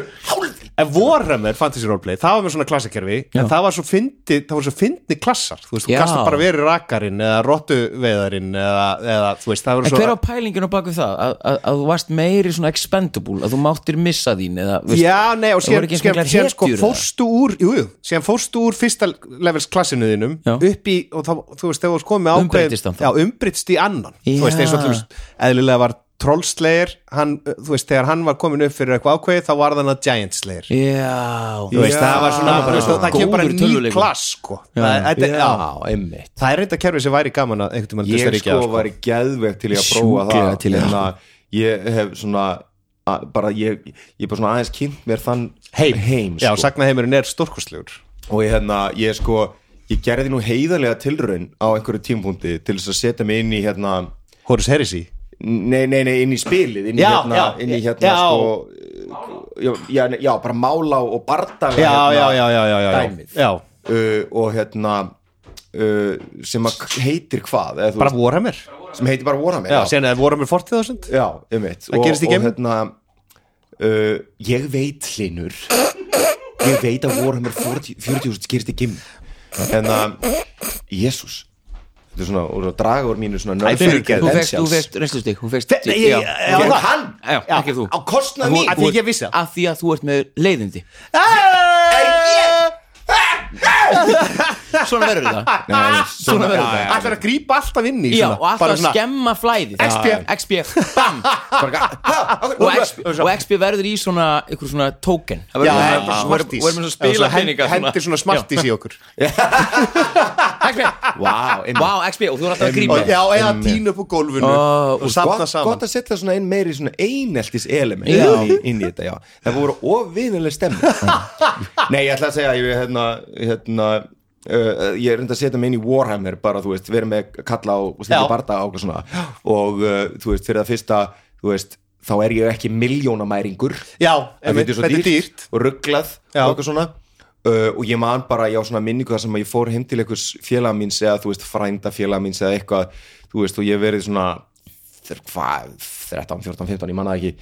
En Warhammer Fantasy Roleplay, það var með svona klassakerfi en það var svo fyndi, það var svo fyndi klassar þú veist, þú Já. gasta bara verið rakarinn eða rottuveðarinn eða, eða þú veist, það var En svo hver á pælinginu bak við það? Að, að, að þú varst meiri svona expendable Að þú máttir missa þín eða, veist- Já, nei, og Það síðan, voru ekki síðan, einhverjar síðan sko hetjur eða? fórstu úr, jú, jú, síðan fórstu úr fyrsta levels klassinu þínum Já. upp í, og þá, þú veist, þegar þú varst komið með ákveðin Umbreytist hann þá? Já, umbreytist í annan Já. Þú veist, eins og allum eðlilega var Troll Slayer, hann, þú veist, þegar hann var komin upp fyrir eitthvað ákveðið, þá var þannig að Giant Slayer Já þú veist, það var svona Það var bara þú veist, svona það kemur bara góður ný tölvuleikur. klass sko. það, þetta, já. einmitt það er reynda kerfi sem væri gaman að einhvern tímann ég Austuríki sko að, væri geðvegt til ég að prófa Sjúklega það til í að- Hérna, ég hef svona að, bara ég, ég er bara svona aðeins kynnt mér þann heim, já, sko. sagnaheimurinn er stórkustlegur og ég hérna, ég sko ég gerði nú heiðarlega tilraun á einhverju tímpúndi til þess að setja mig inn í hérna Horus Heresy nei, nei, nei, inn í spilið inn í Já, hérna, já, inn í hérna já. sko já, já, nei, já, bara mála og bardaga já, hérna, já, já, já, já, já, dæmið. já. Uh, og hérna uh, sem að heitir hvað eða, þú bara Warhammer veist, sem heitir bara Warhammer já, síðan er Warhammer 40.000 Já, um eitt Það gerist í geimnum? Og hérna uh, Ég veit hlinur Ég veit að Warhammer 40 40.000 gerist í geim Hérna, Jésús Þetta er svona, og það draga úr mínu svona nerd fyrirgefðu. Þú veist, þú credentials. veist, reynslustið Þú veist, Nei, ég- já. já, Ég það- er hann Já, ekki þú á kostnað mín Af því ég vissi það Af því að þú ert með leiðindi Svona verður það Nei, nei, Ah, Svona verður það Það er að grípa alltaf inn í <laughs> Já, svona, og alltaf bara að svona- skemma flæði XP. <laughs> XP, bam Og XP, og XP verður í svona ykkur svona token Það Já, verður svona- það er bara verður- smarties. verður með svona Já, spila hend- hendir svona smarties í okkur XP, Vá, einmitt. wow, XP og þú er alltaf að gríma og, já, eða tína upp á gólfinu Ó, og safna Gott, saman gott að setja svona einn meiri svona eineltis element Já. inn í, inn í þetta, já. Það voru ofvinnileg <laughs> stemmi. Nei, ég ætla að segja, ég, hérna, hérna, uh, ég reyndi að setja mig inn í Warhammer bara, þú veist, verið með kalla og, og Já. stilla barda og eitthvað svona. Og, uh, þú veist, fyrir það fyrsta, þú veist, þá er ég ekki miljónamæringur. já, Það einmitt, þetta er dýrt og rugglað Já. og eitthvað svona uh, og ég man bara, ég á svona minningu þar sem að ég fór heim til einhvers félag míns eða þú veist frænda félag míns eða eitthvað þú veist og ég hef verið svona þr- hvað, 13, 14, 15, ég manna ekki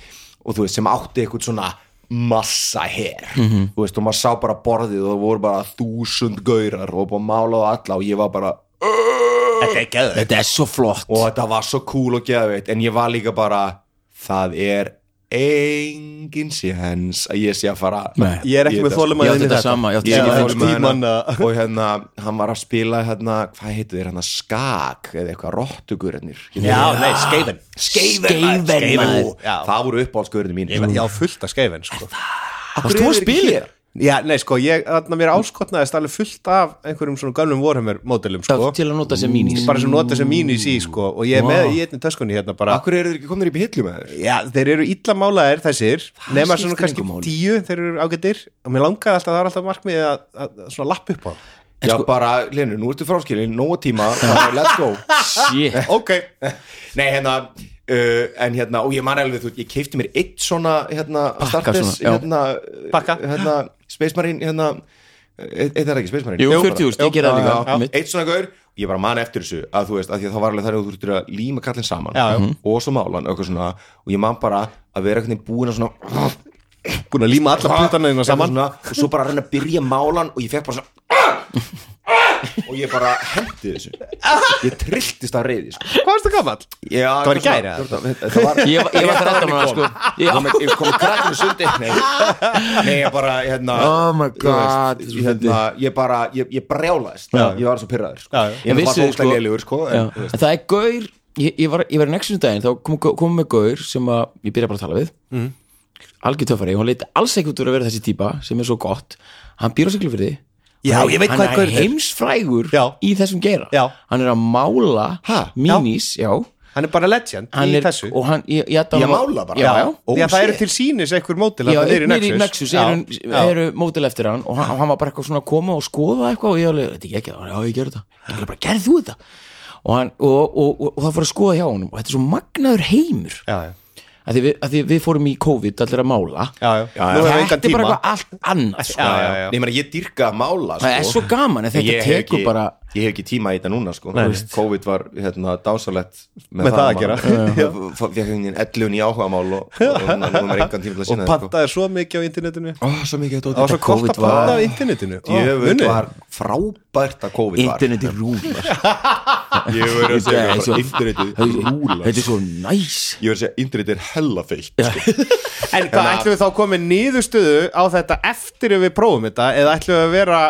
og þú veist sem átti eitthvað svona massa her Mhm. þú veist og maður sá bara borðið og það voru bara þúsund gaurar og bara málaðu alla og ég var bara þetta er geðveikt Þetta er svo flott og þetta var svo cool og geðveitt en ég var líka bara það er engin séns að ég sé að fara Nei. Ég er ekki með Ég þólumæðin átti þetta sama, ég átti Ég þetta er sama. ekki tíman tímann að- og hérna, hann var að spila hérna, hvað heitir þér, hérna skak eða eitthvað rottugurinnir Já, nei, skeifin skeifen, Skeifen, skeifen maður. Já. það voru uppáhaldsgurinn mín Ég var- ég á fullt af skeifin sko. varst þú að spila þér? Já, nei, sko, ég, þarna mér áskotnaðist alveg fullt af einhverjum svona gömlum vorhemur módelum, sko til að nota sem minis bara sem nota sem mínu í sí, sko og ég er með í einni töskunni hérna bara Akkur eru þeir ekki komnir í byllu með þér? Já, þeir eru illa málaðir þessir nema skiptir svona kannski engu máli. tíu þeir eru ágættir og mér langaði alltaf, það var alltaf markmið að, að, að svona lappa upp á það. Já, bara, Linur, nú ertu fráskilin, nóg tíma, bara let's go <laughs> shit <laughs> ok nei hérna uh, en hérna og ég man alveg þú ég keipti mér eitt svona hérna startis svona, já. hérna, Pakka. uh, hérna Space Marine hérna eitt er það ekki Space Marine Jú, 40.000, ég gerði það líka. já, já. Mitt. eitt svona gaur ég bara man eftir þessu að þú veist að því að það var alveg þar að þú þurftir að líma kallin saman Mhm. Já, já. og svo málan og eitthvað svona og ég man bara að vera einhvern veginn búin að svona Búin að líma alla puttana þína Eitthvað saman svona, og svo bara að reyna að byrja málan og ég fekk bara svona og ég bara hendi þessu ég trilltist að reyði sko. Hvað varst það gamall? Já, Það var í gær, eða? gæri Ég var- ég var 13 ára, sko. Ég- Ég kom krakkinu sundi Nei, nei, ég bara hérna, Oh my þú veist, God, þetta er svo hérna, Ég bara, ég, ég brjálaðist Ég var svo pyrraður sko. Já, já. Ég var vissi, svo óslega lélugur sko, já, en, þú en veist, það er gaur ég, ég var, ég var í nextum daginn þá kom, kom með gaur sem að, ég byrja bara að tala við mm. algjör töffari, hún leiti alls ekki út úr að vera þessi típa sem er svo gott hann býr á siglu fyrir Já, ég veit hvað hann er gaur þetta er. heimsfrægur Já. í þessum geira Já. hann er að mála Ha? minis já. Hann er bara legend hann í er, þessu og hann, ég, ég, ég, Ég mála bara? já, já, Ó, Því að það eru til sínis einhver mótil já, þarna niðri eignir í Nexus eru, Já. eru mótil eftir hann og hann, hann var bara eitthvað svona að koma og skoða eitthvað og ég alveg, þetta er ekki, já ég gerði þetta ég gerði bara, gerði þú þetta og, hann, og, og, og, og það fór að skoða hjá honum og þetta er svo magnaður heimur Já, já, að því, við, að því við fórum í COVID allir að mála já, já. Nú hefur þetta er engan bara tíma eitthvað allt annað sko. Já, já, já. Nei, ég meina, ég dyrka að mála sko. það er svo gaman en En þetta ég tekur hef ekki, bara ég hef ekki tíma í þetta núna sko. Þú Nei, nei. veist, COVID var hérna, dásalett Með það að gera. <laughs> Já. fekk einhvern 11 í áhugamál og, og, og núna er engan tíma til að Og sinna þeim, sko. pantaði svo mikið á internetinu Ó, svo mikið að Það var svo kort að panta á internetinu Ó, Jöfn munið. var frábært að COVID interneti rúlar var Ég verður að segja Þetta er bara, svo- Internetið rúlar þetta er svo næs Ég verður að segja internetið er hella feitt sko. En hvað, ætlum við þá komið niðurstöðu á þetta eftir ef við prófum þetta eða ætlum við að vera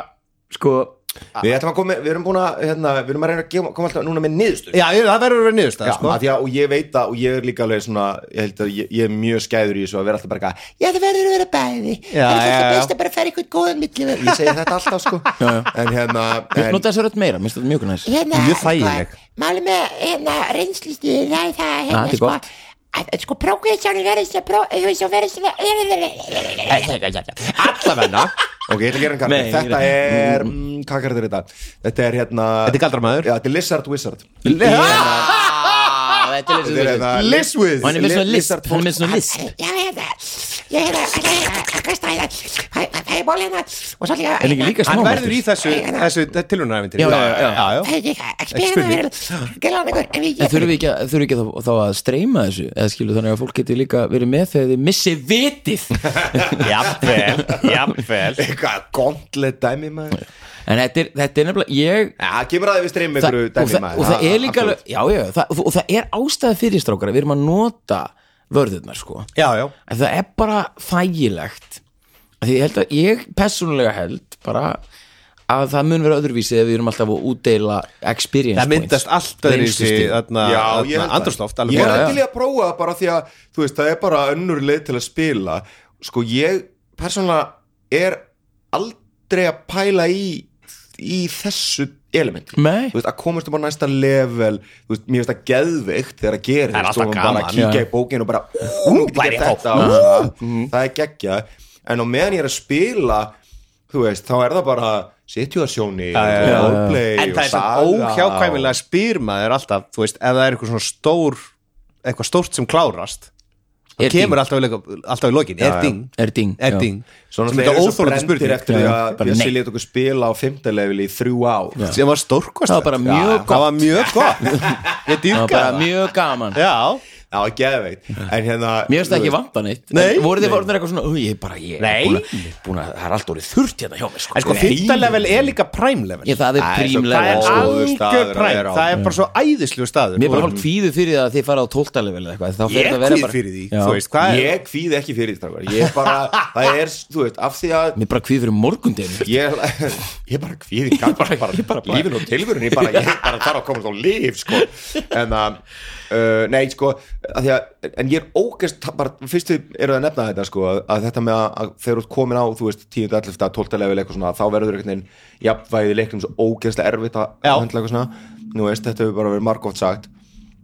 sko, Við ætlum að koma, við erum búin að hérna, Við erum að reyna að gefa- koma alltaf núna með niðurstöð Já, það verður að vera niðurstöð sko. að því að, og ég veit að, og ég er líka alveg svona ég, held að ég, ég er mjög skæður í þessu að vera alltaf bara eitthvað, já það verður að vera bæði Já, það er já, alltaf já. best að bara fara eitthvað góðan milli veg." ég segi þetta alltaf <laughs> sko en hérna við en, nota þessu rödd meira, minnst þetta mjög næs hérna, Mjög þægileg. sko, máli með hérna, reynslistuðin það er það hérna, Ah, þetta er sko, gott. að, að, sko prógressjónin verður svona pró, þú veist, hún verður svona allavegna ok, ég ætla að gera en kart Nei, þetta ég- er, mm, hvað kart er þetta þetta er hérna Þetta er Ah! galdramæður já, þetta er Lizard Wizard þetta er þetta er hérna Og hann er með svona list Lizard Hann er með svona list já, hérna, ég hérna hérna, hérna, kasta hérna fæ- fæ- fæ ból hérna og svo líka Er ekki líka Hann smá verður í þessu, þessu tilhjónaræfintir Já, já, já, já. Hey, ég- ekki spila hérna hérna, gerðu hann einhver, en ég- En þurfum við ekki, að- þurfum við ekki þá, þá að streyma þessu eða skilu þannig að fólk geti líka verið með þegar þið missi vitið <laughs> Jafnvel, jafnvel eitthvað gondlega dæmi maður En þetta er, þetta er nefnilega ég, Já, það kemur að við streymum það, einhverju og, dæmi það, maður og það Já, er líka alveg, absolutt. Já, já, það, og- og það er ástæða fyrir strákara Við erum að nota vörðurnar sko Já, já En það er bara þægilegt Af Því ég held að ég persónulega held bara að það mun vera öðruvísi ef við erum alltaf að útdeila experience Það myndast allt öðru í Reynslustig. þessi þarna, Já, ég þarna held það. andrúsloft Ég hérna, alveg er Já, til í að prófa það bara því að þú veist, það er bara önnur leið til að spila Sko, ég persónulega er aldrei að pæla í í þessu elementi Nei. þú veist, að komast upp á næsta level þú veist, mér finnst það geðveikt þegar að gera Það er alltaf og bara gaman. að kíkja í bókinu og bara, ú, bara þetta og svona, það er geggja en á meðan ég er að spila þú veist, þá er það bara situasjóni og roleplay En og það er saga svona og- óhjákvæmilega spyr maður alltaf Þú veist, ef það er eitthvað svona stór eitthvað stórt sem klárast Er það kemur alltaf í lo- alltaf í lokin Er ding, Er ding, er já. ding Svona Sem þeir þetta eru svo óþólandi brendir spurning eftir því að bara Bjössi nei. lét okkur spila á fymtalefili í þrjú ár Já, sem var <laughs> stórkvast Það var bara mjög það var mjög gott ég Það var dýrka bara það mjög gaman já, Já, geðveikt En hérna Mér finnst það ekki vanta neitt En Nei, Voru þið nei. orðnir eitthvað svona "Ú, Ég er bara, ég er Nei. búin að- búin að Það er allt orðið þurrt hérna hjá mér sko. En sko, fyrta level er líka prime level Ég, Það er Æ, svo prímlega Það er Góður staður að algjör præm, vera á. það er bara svo æðislu staður Mér er bara hálf kvíðu fyrir það að þið fara á 12. level eða eitthvað þá fer Ég þetta að vera kvíð bara- fyrir því, Já. þú veist, hvað er Ég kvíði ekki fyrir því strákar Ég bara, það er, þú veist, af því að Mér er bara kvíð fyrir morgundinu Ég, ég bara kvíði gagn, bara, bara, lífin og tilvörun ég bara, ég bara þarf að komast á líf sko. en að uh, nei sko, að því að en ég er ógæst, bara fyrst þið eru að nefna þetta sko, að- að þetta með að, að þegar þú ert komin á þú veist, 10. 11. 12. level eitthvað svona þá verður einhvern veginn jafnvægið í leiknum svo ógæslega erfitt að Já. höndla eitthvað svona nú veist, þetta hefur bara verið margótt sagt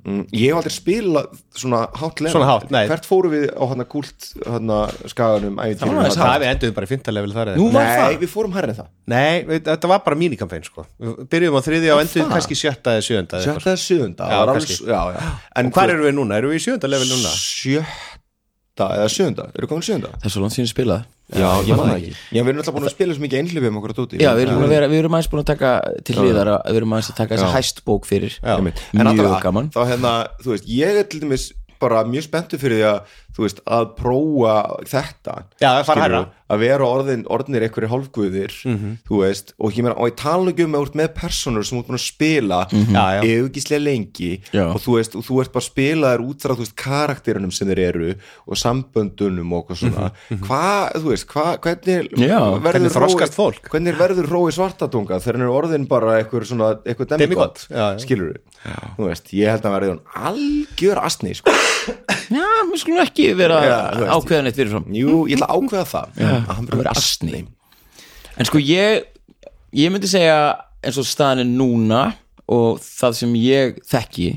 Mm, ég hef aldrei spilað svona hátt level Svona hátt, nei. hvert fórum við á hann að gúlt hann að skaganum ævintýrum, Það þarna? er við enduðum bara í fyrta level þar eða Nú eitthvað. var það? Nei, við fórum hærri en það Nei, við- þetta var bara mínikampæn sko Við byrjum á þriðja og enduðum kannski sjötta eða sjöunda eða eitthvað. Sjötta eða sjöunda Já, það var kannski. alls, já, já. En Og hvar eru við núna? Erum við í sjönda level núna? Sjötta eða sjöunda, eru komin sjöunda? Það er svo langt síðan spilað Já, ég man það ekki Já, við erum alltaf búin að spila svo mikið einhlifi um okkur að dúti Já, við erum, búin að vera, við erum aðeins búin að taka til hliðar að- Við erum aðeins að taka þessa Já. hæstbók fyrir Einmitt. En Mjög allavega, gaman Þá hérna, þú veist, ég er til dæmis bara mjög spenntu fyrir því að þú veist, að prófa þetta Já, að fara skilurðu, hærra. að vera orðin, orðinir einhverju hálfguðir þú veist, og ég meina, og ég tala ekki um að þú ert með personur sem þú ert búin að spila mm Já, já. augislega lengi Já. og þú veist, og þú ert bara að spila þér út frá þú veist, karakterinum sem þeir eru og samböndunum og okkur svona hvað, þú veist, hvað, hvernig Já, hvernig Rói- þroskast fólk? hvernig verður rói svartatunga þegar hann er orðin bara eitthvað svona, eitthvað demigod, Demigod, já, já. skilur við þú veist, ég held að hann verði hann algjör astni, sko, Já, við skulum ekki vera Já, þú veist. ákveðan eitt fyrir fram jú, ég ætla að ákveða það að hann verður asni En sko ég ég myndi segja eins og staðan er núna og það sem ég þekki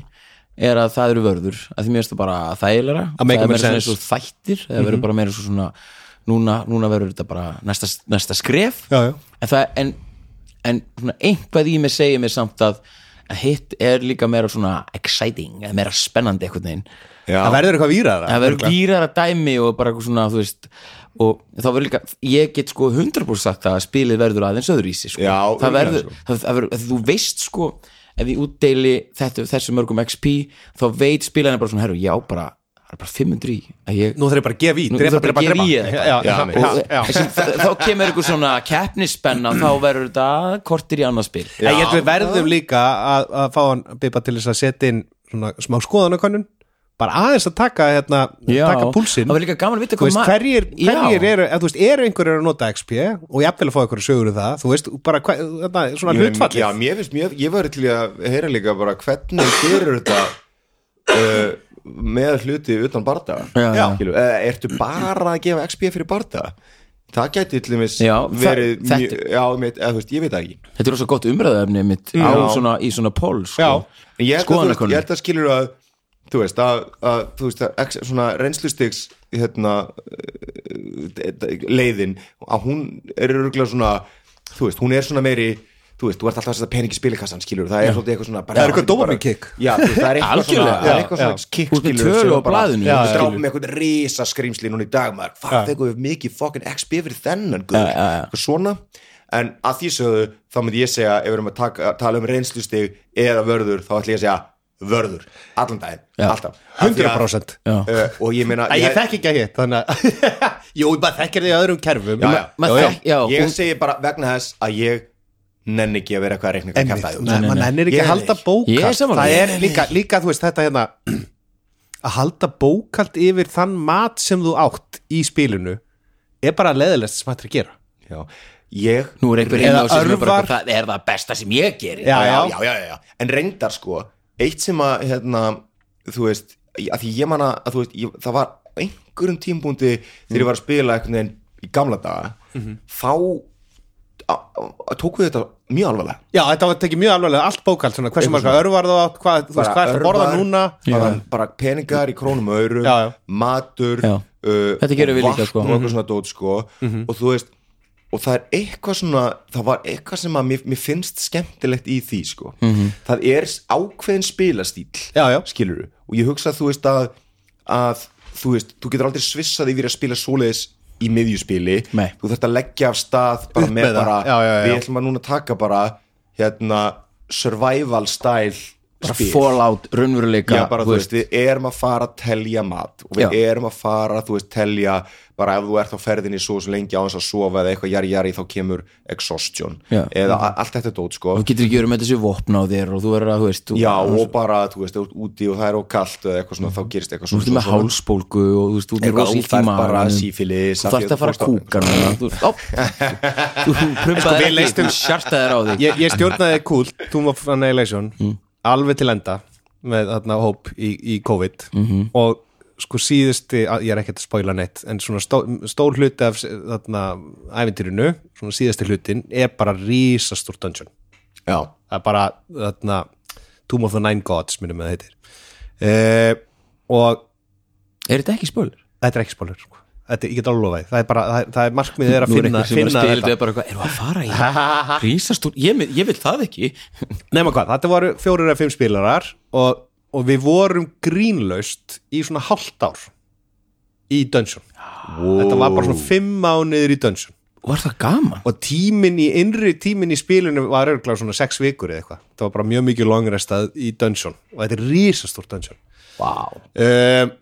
er að það eru vörður að því mér finnst það bara þægilega Að make það er more meira svona sense. Mhm. eins og þættir það verður bara meira eins og svona núna, núna verður þetta bara næsta, næsta skref Já, já. en það en, en svona einhvað í mig segir mér samt að að hitt er líka meira svona exciting, eða meira spennandi einhvern veginn Það verður eitthvað výraðara það verður dýrar að dæmi og bara eitthvað svona þú veist og þá verður líka, ég get sko 100% sagt að spilið verður aðeins öðru í sig sko. Já, það örugglega, verður, sko. það, það verður, þú veist sko ef ég útdeili þetta, þessu mörgum XP þá veit spilarinn bara svona herru, já bara, það er bara 500 í að ég Nú þarf ég bara að gefa í, Nú drepa, þarf bara drepa, að gefa drepa í Já, eitthvað. já, Já, já, mitt. já, já. Þessi, þá kemur eitthvað svona keppnisspenna þá verður þetta kortir í annað spil En ég held við verðum líka að, að fá hann Bipa til þess að setja inn svona smá skoðanakönnun bara aðeins að taka hérna, Já. taka púlsinn Það var líka gaman að vita Þú hvað veist, ma- hverjir, Já. hverjir eru, eða, þú veist, eru einhverjir að nota XP og ég að fá einhverju sögur um það þú veist, bara hver, hérna, svona Ég meina, hlutfallið já, mér finnst, mér, ég var til í að heyra líka bara hvernig gerir þetta uh, með hluti utan bardaga Já, já. Skilu, eða ertu bara að gefa XP fyrir bardaga það gæti til dæmis Já, það- verið mjög, þetta- já, mitt, eða, þú veist, ég veit það ekki þetta er svo gott umræðaefni mitt á Já. svona, í svona pól sko. Já. En ég held, að, þú veist, Skoðanakönnun. ég held að skilur að þú veist að, að, þú veist, að ex, svona reynslustigs hérna, eh, d- d- leiðin að hún er örgulega svona þú veist, hún er svona meiri þú veist, þú ert alltaf að setja pening í spilikassan skilur það er svolítið eitthvað svona bara, Það er eitthvað dópamin kick. já, þú veist, það er eitthvað svona, Algjörlega. það er eitthvað svona kick Þú ert með skilurðu, tölu sem á blaðinu, já, bara, við skilurðu. dráum með eitthvað risa skrimsli núna í dag maður, hvað fegum við mikið fucking XP fyrir þennan guður, eitthvað svona en að því sögðu, þá myndi ég segja ef við erum að taka, tala um reynslustig eða vörður, þá ætlum ég að segja vörður allan daginn, alltaf Af því að- 100% Já. Uh, og ég meina Æ, ég þekki ekki að hitt, þannig að <laughs> Jú, ég bara þekkir þig í öðrum kerfum já, já, Ma- já, já. þekk- já, ég hún- segi bara vegna þess að ég nenni ekki að vera eitthvað að reikninga Einmitt, kjafta nei, nei, maður nei. nennir ekki Ég að er halda Ég ekki. er bókald sammála. það Nei, nei, er nei. líka, líka þú veist þetta hérna <clears throat> að halda bókald yfir þann mat sem þú átt í spilinu er bara leðilegst sem hættir að gera já, ég nú er einhver inn á Eða sig sem er bara örvar. eitthvað, það er það besta sem ég gerir Já, já, já, já, já, já. en reyndar sko eitt sem að hérna, þú veist, að því ég manna að þú veist, ég, það var á einhverjum tímpúndi þegar ég var að spila einhvern veginn í gamla daga Mhm. þá a- a- tóku við þetta mjög alvarlega Já, þetta var tekið mjög alvarlega, allt bókald svona, hversu marga örvar þú átt, hvað, þú veist, hvað er að borða örvar, núna bara, bara peningar í krónum og aurum Já, Mhm. já. matur Já. Uh, Þetta gerum og við líka, vatn sko. og eitthvað svona dót sko Mhm. og þú veist og það er eitthvað svona, það var eitthvað sem að mér, mér finnst skemmtilegt í því sko Mhm. það er ákveðin spilastíl Já, já. skilur og ég hugsa þú veist að, að þú veist, þú getur aldrei svissað yfir að spila svoleiðis í miðjuspili Nei. þú þarft að leggja af stað bara Upp með með það. bara, Já, já, já. við ætlum að núna taka bara hérna survival style bara fallout, raunveruleika Já, bara, þú veist, við erum að fara að telja mat og við Já. erum að fara, þú veist, telja bara ef þú ert á ferðinni svo sem lengi á hans að sofa eða eitthvað jari jari þá kemur exhaustion Já. eða a- allt þetta dót, sko og þú getur ekki verið með þessi vopna á þér og þú verður að, þú veist, þú, Já, þú, og bara, þú veist, ef þú ert úti og það er og kalt eða eitthvað svona, þá gerist eitthvað þú svona veist með hálsbólgu og þú veist, þú ert með Eitthvað, rosa þú illt í fær maganum. bara sífilis þú þarft að fara að kúka <laughs> núna. Þú- Ó, þú þú Sko, við prumpaðir leystum- ekki, þú sjartaðir á þig ég, ég stjórnaði kult Tomb of Annihilation alveg til enda með þarna hóp í, í COVID og sko síðusti, að- ég er ekkert að spoila neitt en svona stó, stór hluti af s- þarna ævintýrinu, svona síðasti hlutin er bara rísastór dungeon Já, það er bara þarna Tomb of the Nine Gods minnum með það heitir e, og er þetta ekki spöl? þetta er ekki spólur sko. Þetta- ég get alveg lofaði, það er bara það er, það er markmið er að finna, finna þetta er bara eitthvað, erum við að fara <laughs> í rísastúr, ég, mynd- ég vil það ekki Nefna hvað, þetta voru fjórir af fimm spilarar og, og við vorum grínlaust í svona hálft ár í Dungeon Þetta var bara svona fimm mánuður í Dungeon var það gaman? og tíminn í innri tíminn í spilinu var örgulega svona sex vikur eða eitthvað það var bara mjög mikið longrestað í Dungeon og þetta er risastórt Dungeon Vá. um,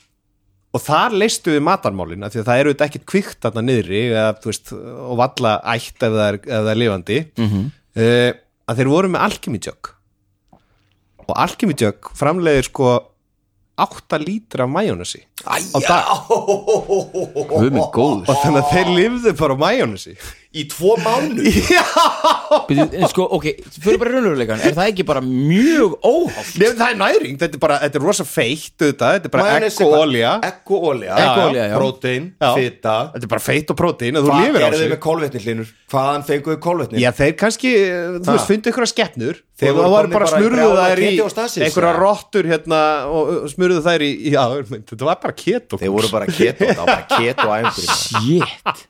og þar leistu við matarmálin af því að það eru þetta ekkit kvikt þarna niðri eða, þú veist, og valla ætt ef það er, ef það er lifandi mm að þeir voru með alkimidjök og alkimidjök framleiðir sko 8 lítra af majónesi á dag Guð minn góður og þannig að þeir lifðu bara á majónesi <laughs> í tvo mánu Bíddu, En sko, ok, fyrir bara í raunveruleikan Er það ekki bara mjög óhátt? Nefnir það er næring, þetta er bara, þetta er rosa feitt auðvitað, þetta er bara egg og olja Ekko olja, Egg og olía, já. protein, Já. fita Þetta er bara feitt og prótein að þú Hvað lifir á gerðu þið sig með kólvetni hlinur? Hvaðan fenguðu kólvetni? Já, þeir kannski, þú Ha. veist, fundu ykkur að skepnur Þeir og voru það var komnir bara bara í smurðuð brjálaða þær í keto stasis, einhverja eða? rottur hérna og og smurðuð þær í, já, <laughs> þetta var bara keto Þeir voru bara keto, það var bara keto æfingurinn <laughs> Jétt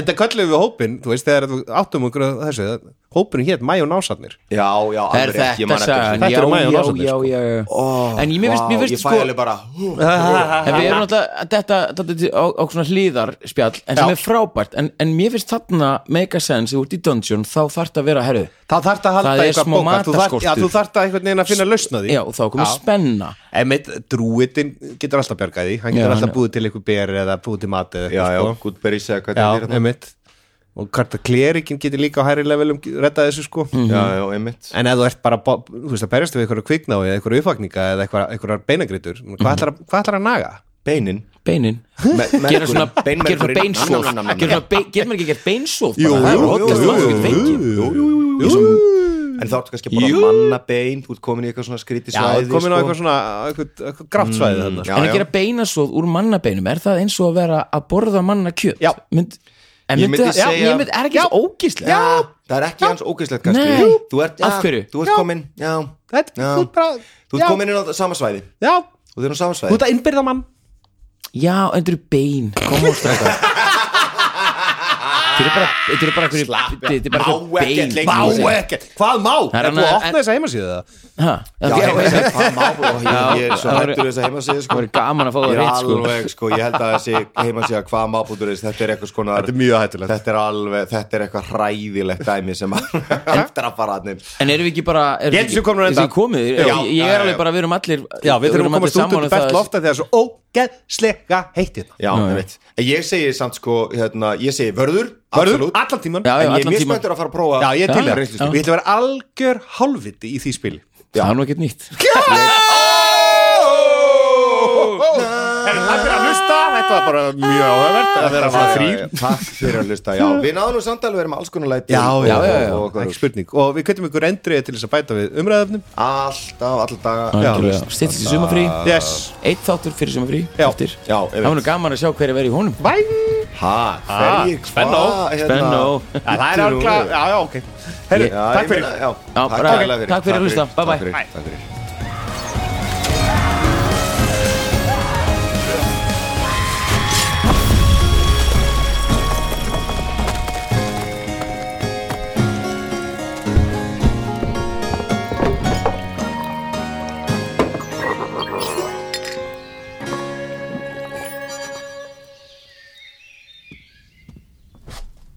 En það kallum við hópin, þú veist, þegar þú áttum okkur að þessu, að hópurinn hétt Mæjón ásarnir Já, já, Er alveg ekki, þetta ég man eftir sann? þessu. Þetta Já, já, eru já, majónásarnir, já, sko. já. Ó, En ég- mér finnst- mér vá, finnst ég sko- fæ <laughs> alveg bara <laughs> En við erum náttúrulega að detta, detta á, á svona hlýðarspjall En sem Já. er frábært En, en mér finnst þarna make a sense Þú ert í dungeon, þá þarf það að vera herðu Það þarf að halda Það er eitthvað smá bókað, þú þarft- Já, matarskortur. þú þarft að einhvern veginn að finna lausna því Já, og þá komið spenna Einmitt, drúitin getur alltaf bjargað því hann Já, getur hann- alltaf búið til eitthvað ber eða búið til mat eða Já, já, eitthvað, sko. Goodberry segja hvað já, þetta er hérna. einmitt og hvort að klerikin getur líka á hæri levelum rettað þessu sko Já, já, einmitt en ef þú ert bara, bo- þú veist, að berjast við einhverju kviknái eða einhverju uppvakninga eða einhverjar- einhverjar beinagritur, hvað ætlar að- hvað ætlar að naga? Beinin Beinin Gera svona gera svona beinsóð Gera svona bein- Getur maður ekki gert beinsóð? Jú, jú, jú, jú, jú En þá ertu kannski bara að manna bein Þú ert komin í eitthvað svona skríti Já, svæði komin á sko. eitthvað svona eitthvað, eitthvað grátt svæði þarna Já, En að já. gera beinasóð úr mannabeinum Er það eins og að vera að borða mannakjöt? Já. Mynd, En Ég myndi, myndi já, segja- ég myndi, er ekki svo ógíslega Já, það er ekki hans ógæslegt kannski Nei. Jú. Þú ert, já, Af hverju? Þú ert komin, já Þetta, Já. þú ert bara Þú ert komin inn á sama svæði Já, Þú ert inn á sama þú ert svæði að innbyrða mann Já, en þetta eru bein Kom á stráka Þetta eru bara Þetta eru bara einhverju Þetta eru bara Má ekkert einhverju bein lengur. Má Má ekkert, hvað má? Það er Er þú að annað- opna þessa heimasíðu það? Ha, Já, ok, ég ok. veit ekki hvað má og ég, Já, ég er svo það væri- hættur við þess að heimasíðu Það sko. verður gaman að fá það Ég er rétt sko alveg, sko, ég held að þessi heimasíða hvað má bútur þetta er eitthvað skonar Þetta er mjög hættulegt. Þetta er alveg, þetta er eitthvað hræðilegt dæmi sem að <laughs> eftir að fara hann En erum við ekki bara erum Ég held ekki- sem komnir að erum við enda. komið Já, Ég ég já, er alveg já. bara Við erum allir Já, við þurfum allir að komast út sammála úr um best það- lofta þegar það er svo ógeðslega heitt hérna Já, ég veit En ég segi samt sko, hérna, ég segi vörður Verður absolutt. allan tíman Já, já, En ég er allan mjög tímann. spenntur að fara að prófa Já, ég er til Já, það reynslustig. Við ætlum að vera algjör hálfviti í því spili Það er nú ekkert nýtt En það fyrir að hlusta, þetta var bara mjög áhugavert að vera Já, svona já, þrý já, Takk fyrir að hlusta, já Við náðum nú samt alveg, við erum alls konar læti Já, og- já, já, og- já, og- og- ekki spurning Og við kveitum ykkur endrið til þess að bæta við umræðafnum Alltaf, alltaf Já. daga Stittist í sumafrí Yes, Eitt þáttur fyrir sumafrí Já. Eftir Já, Það var nú gaman að sjá hverju verið í honum Ha, hverjir, hvað spennó, hérna- Bennó Já, það er alveg, já, já, ok Herri, Já, takk ég fyrir meina, já, Já, takk bara- kærlega takk fyrir að hlusta. Bye, takk bye. fyrir, Takk fyrir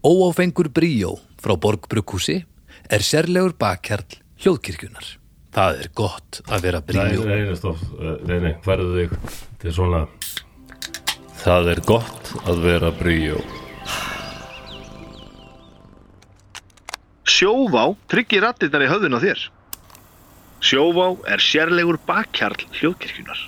Óáfengur bríó frá Borgbrukkúsi er sérlegur bakkjarl hljóðkirkjunar. Það er gott að vera Nei, Bríó. nei, nei, stopp, Eh, nei, nei, færðu þig Þetta er svona Það er gott að vera bríó Sjóvá tryggir rattirnar í höfðun á þér. Sjóvá er sérlegur bakkjarl hljóðkirkjunar.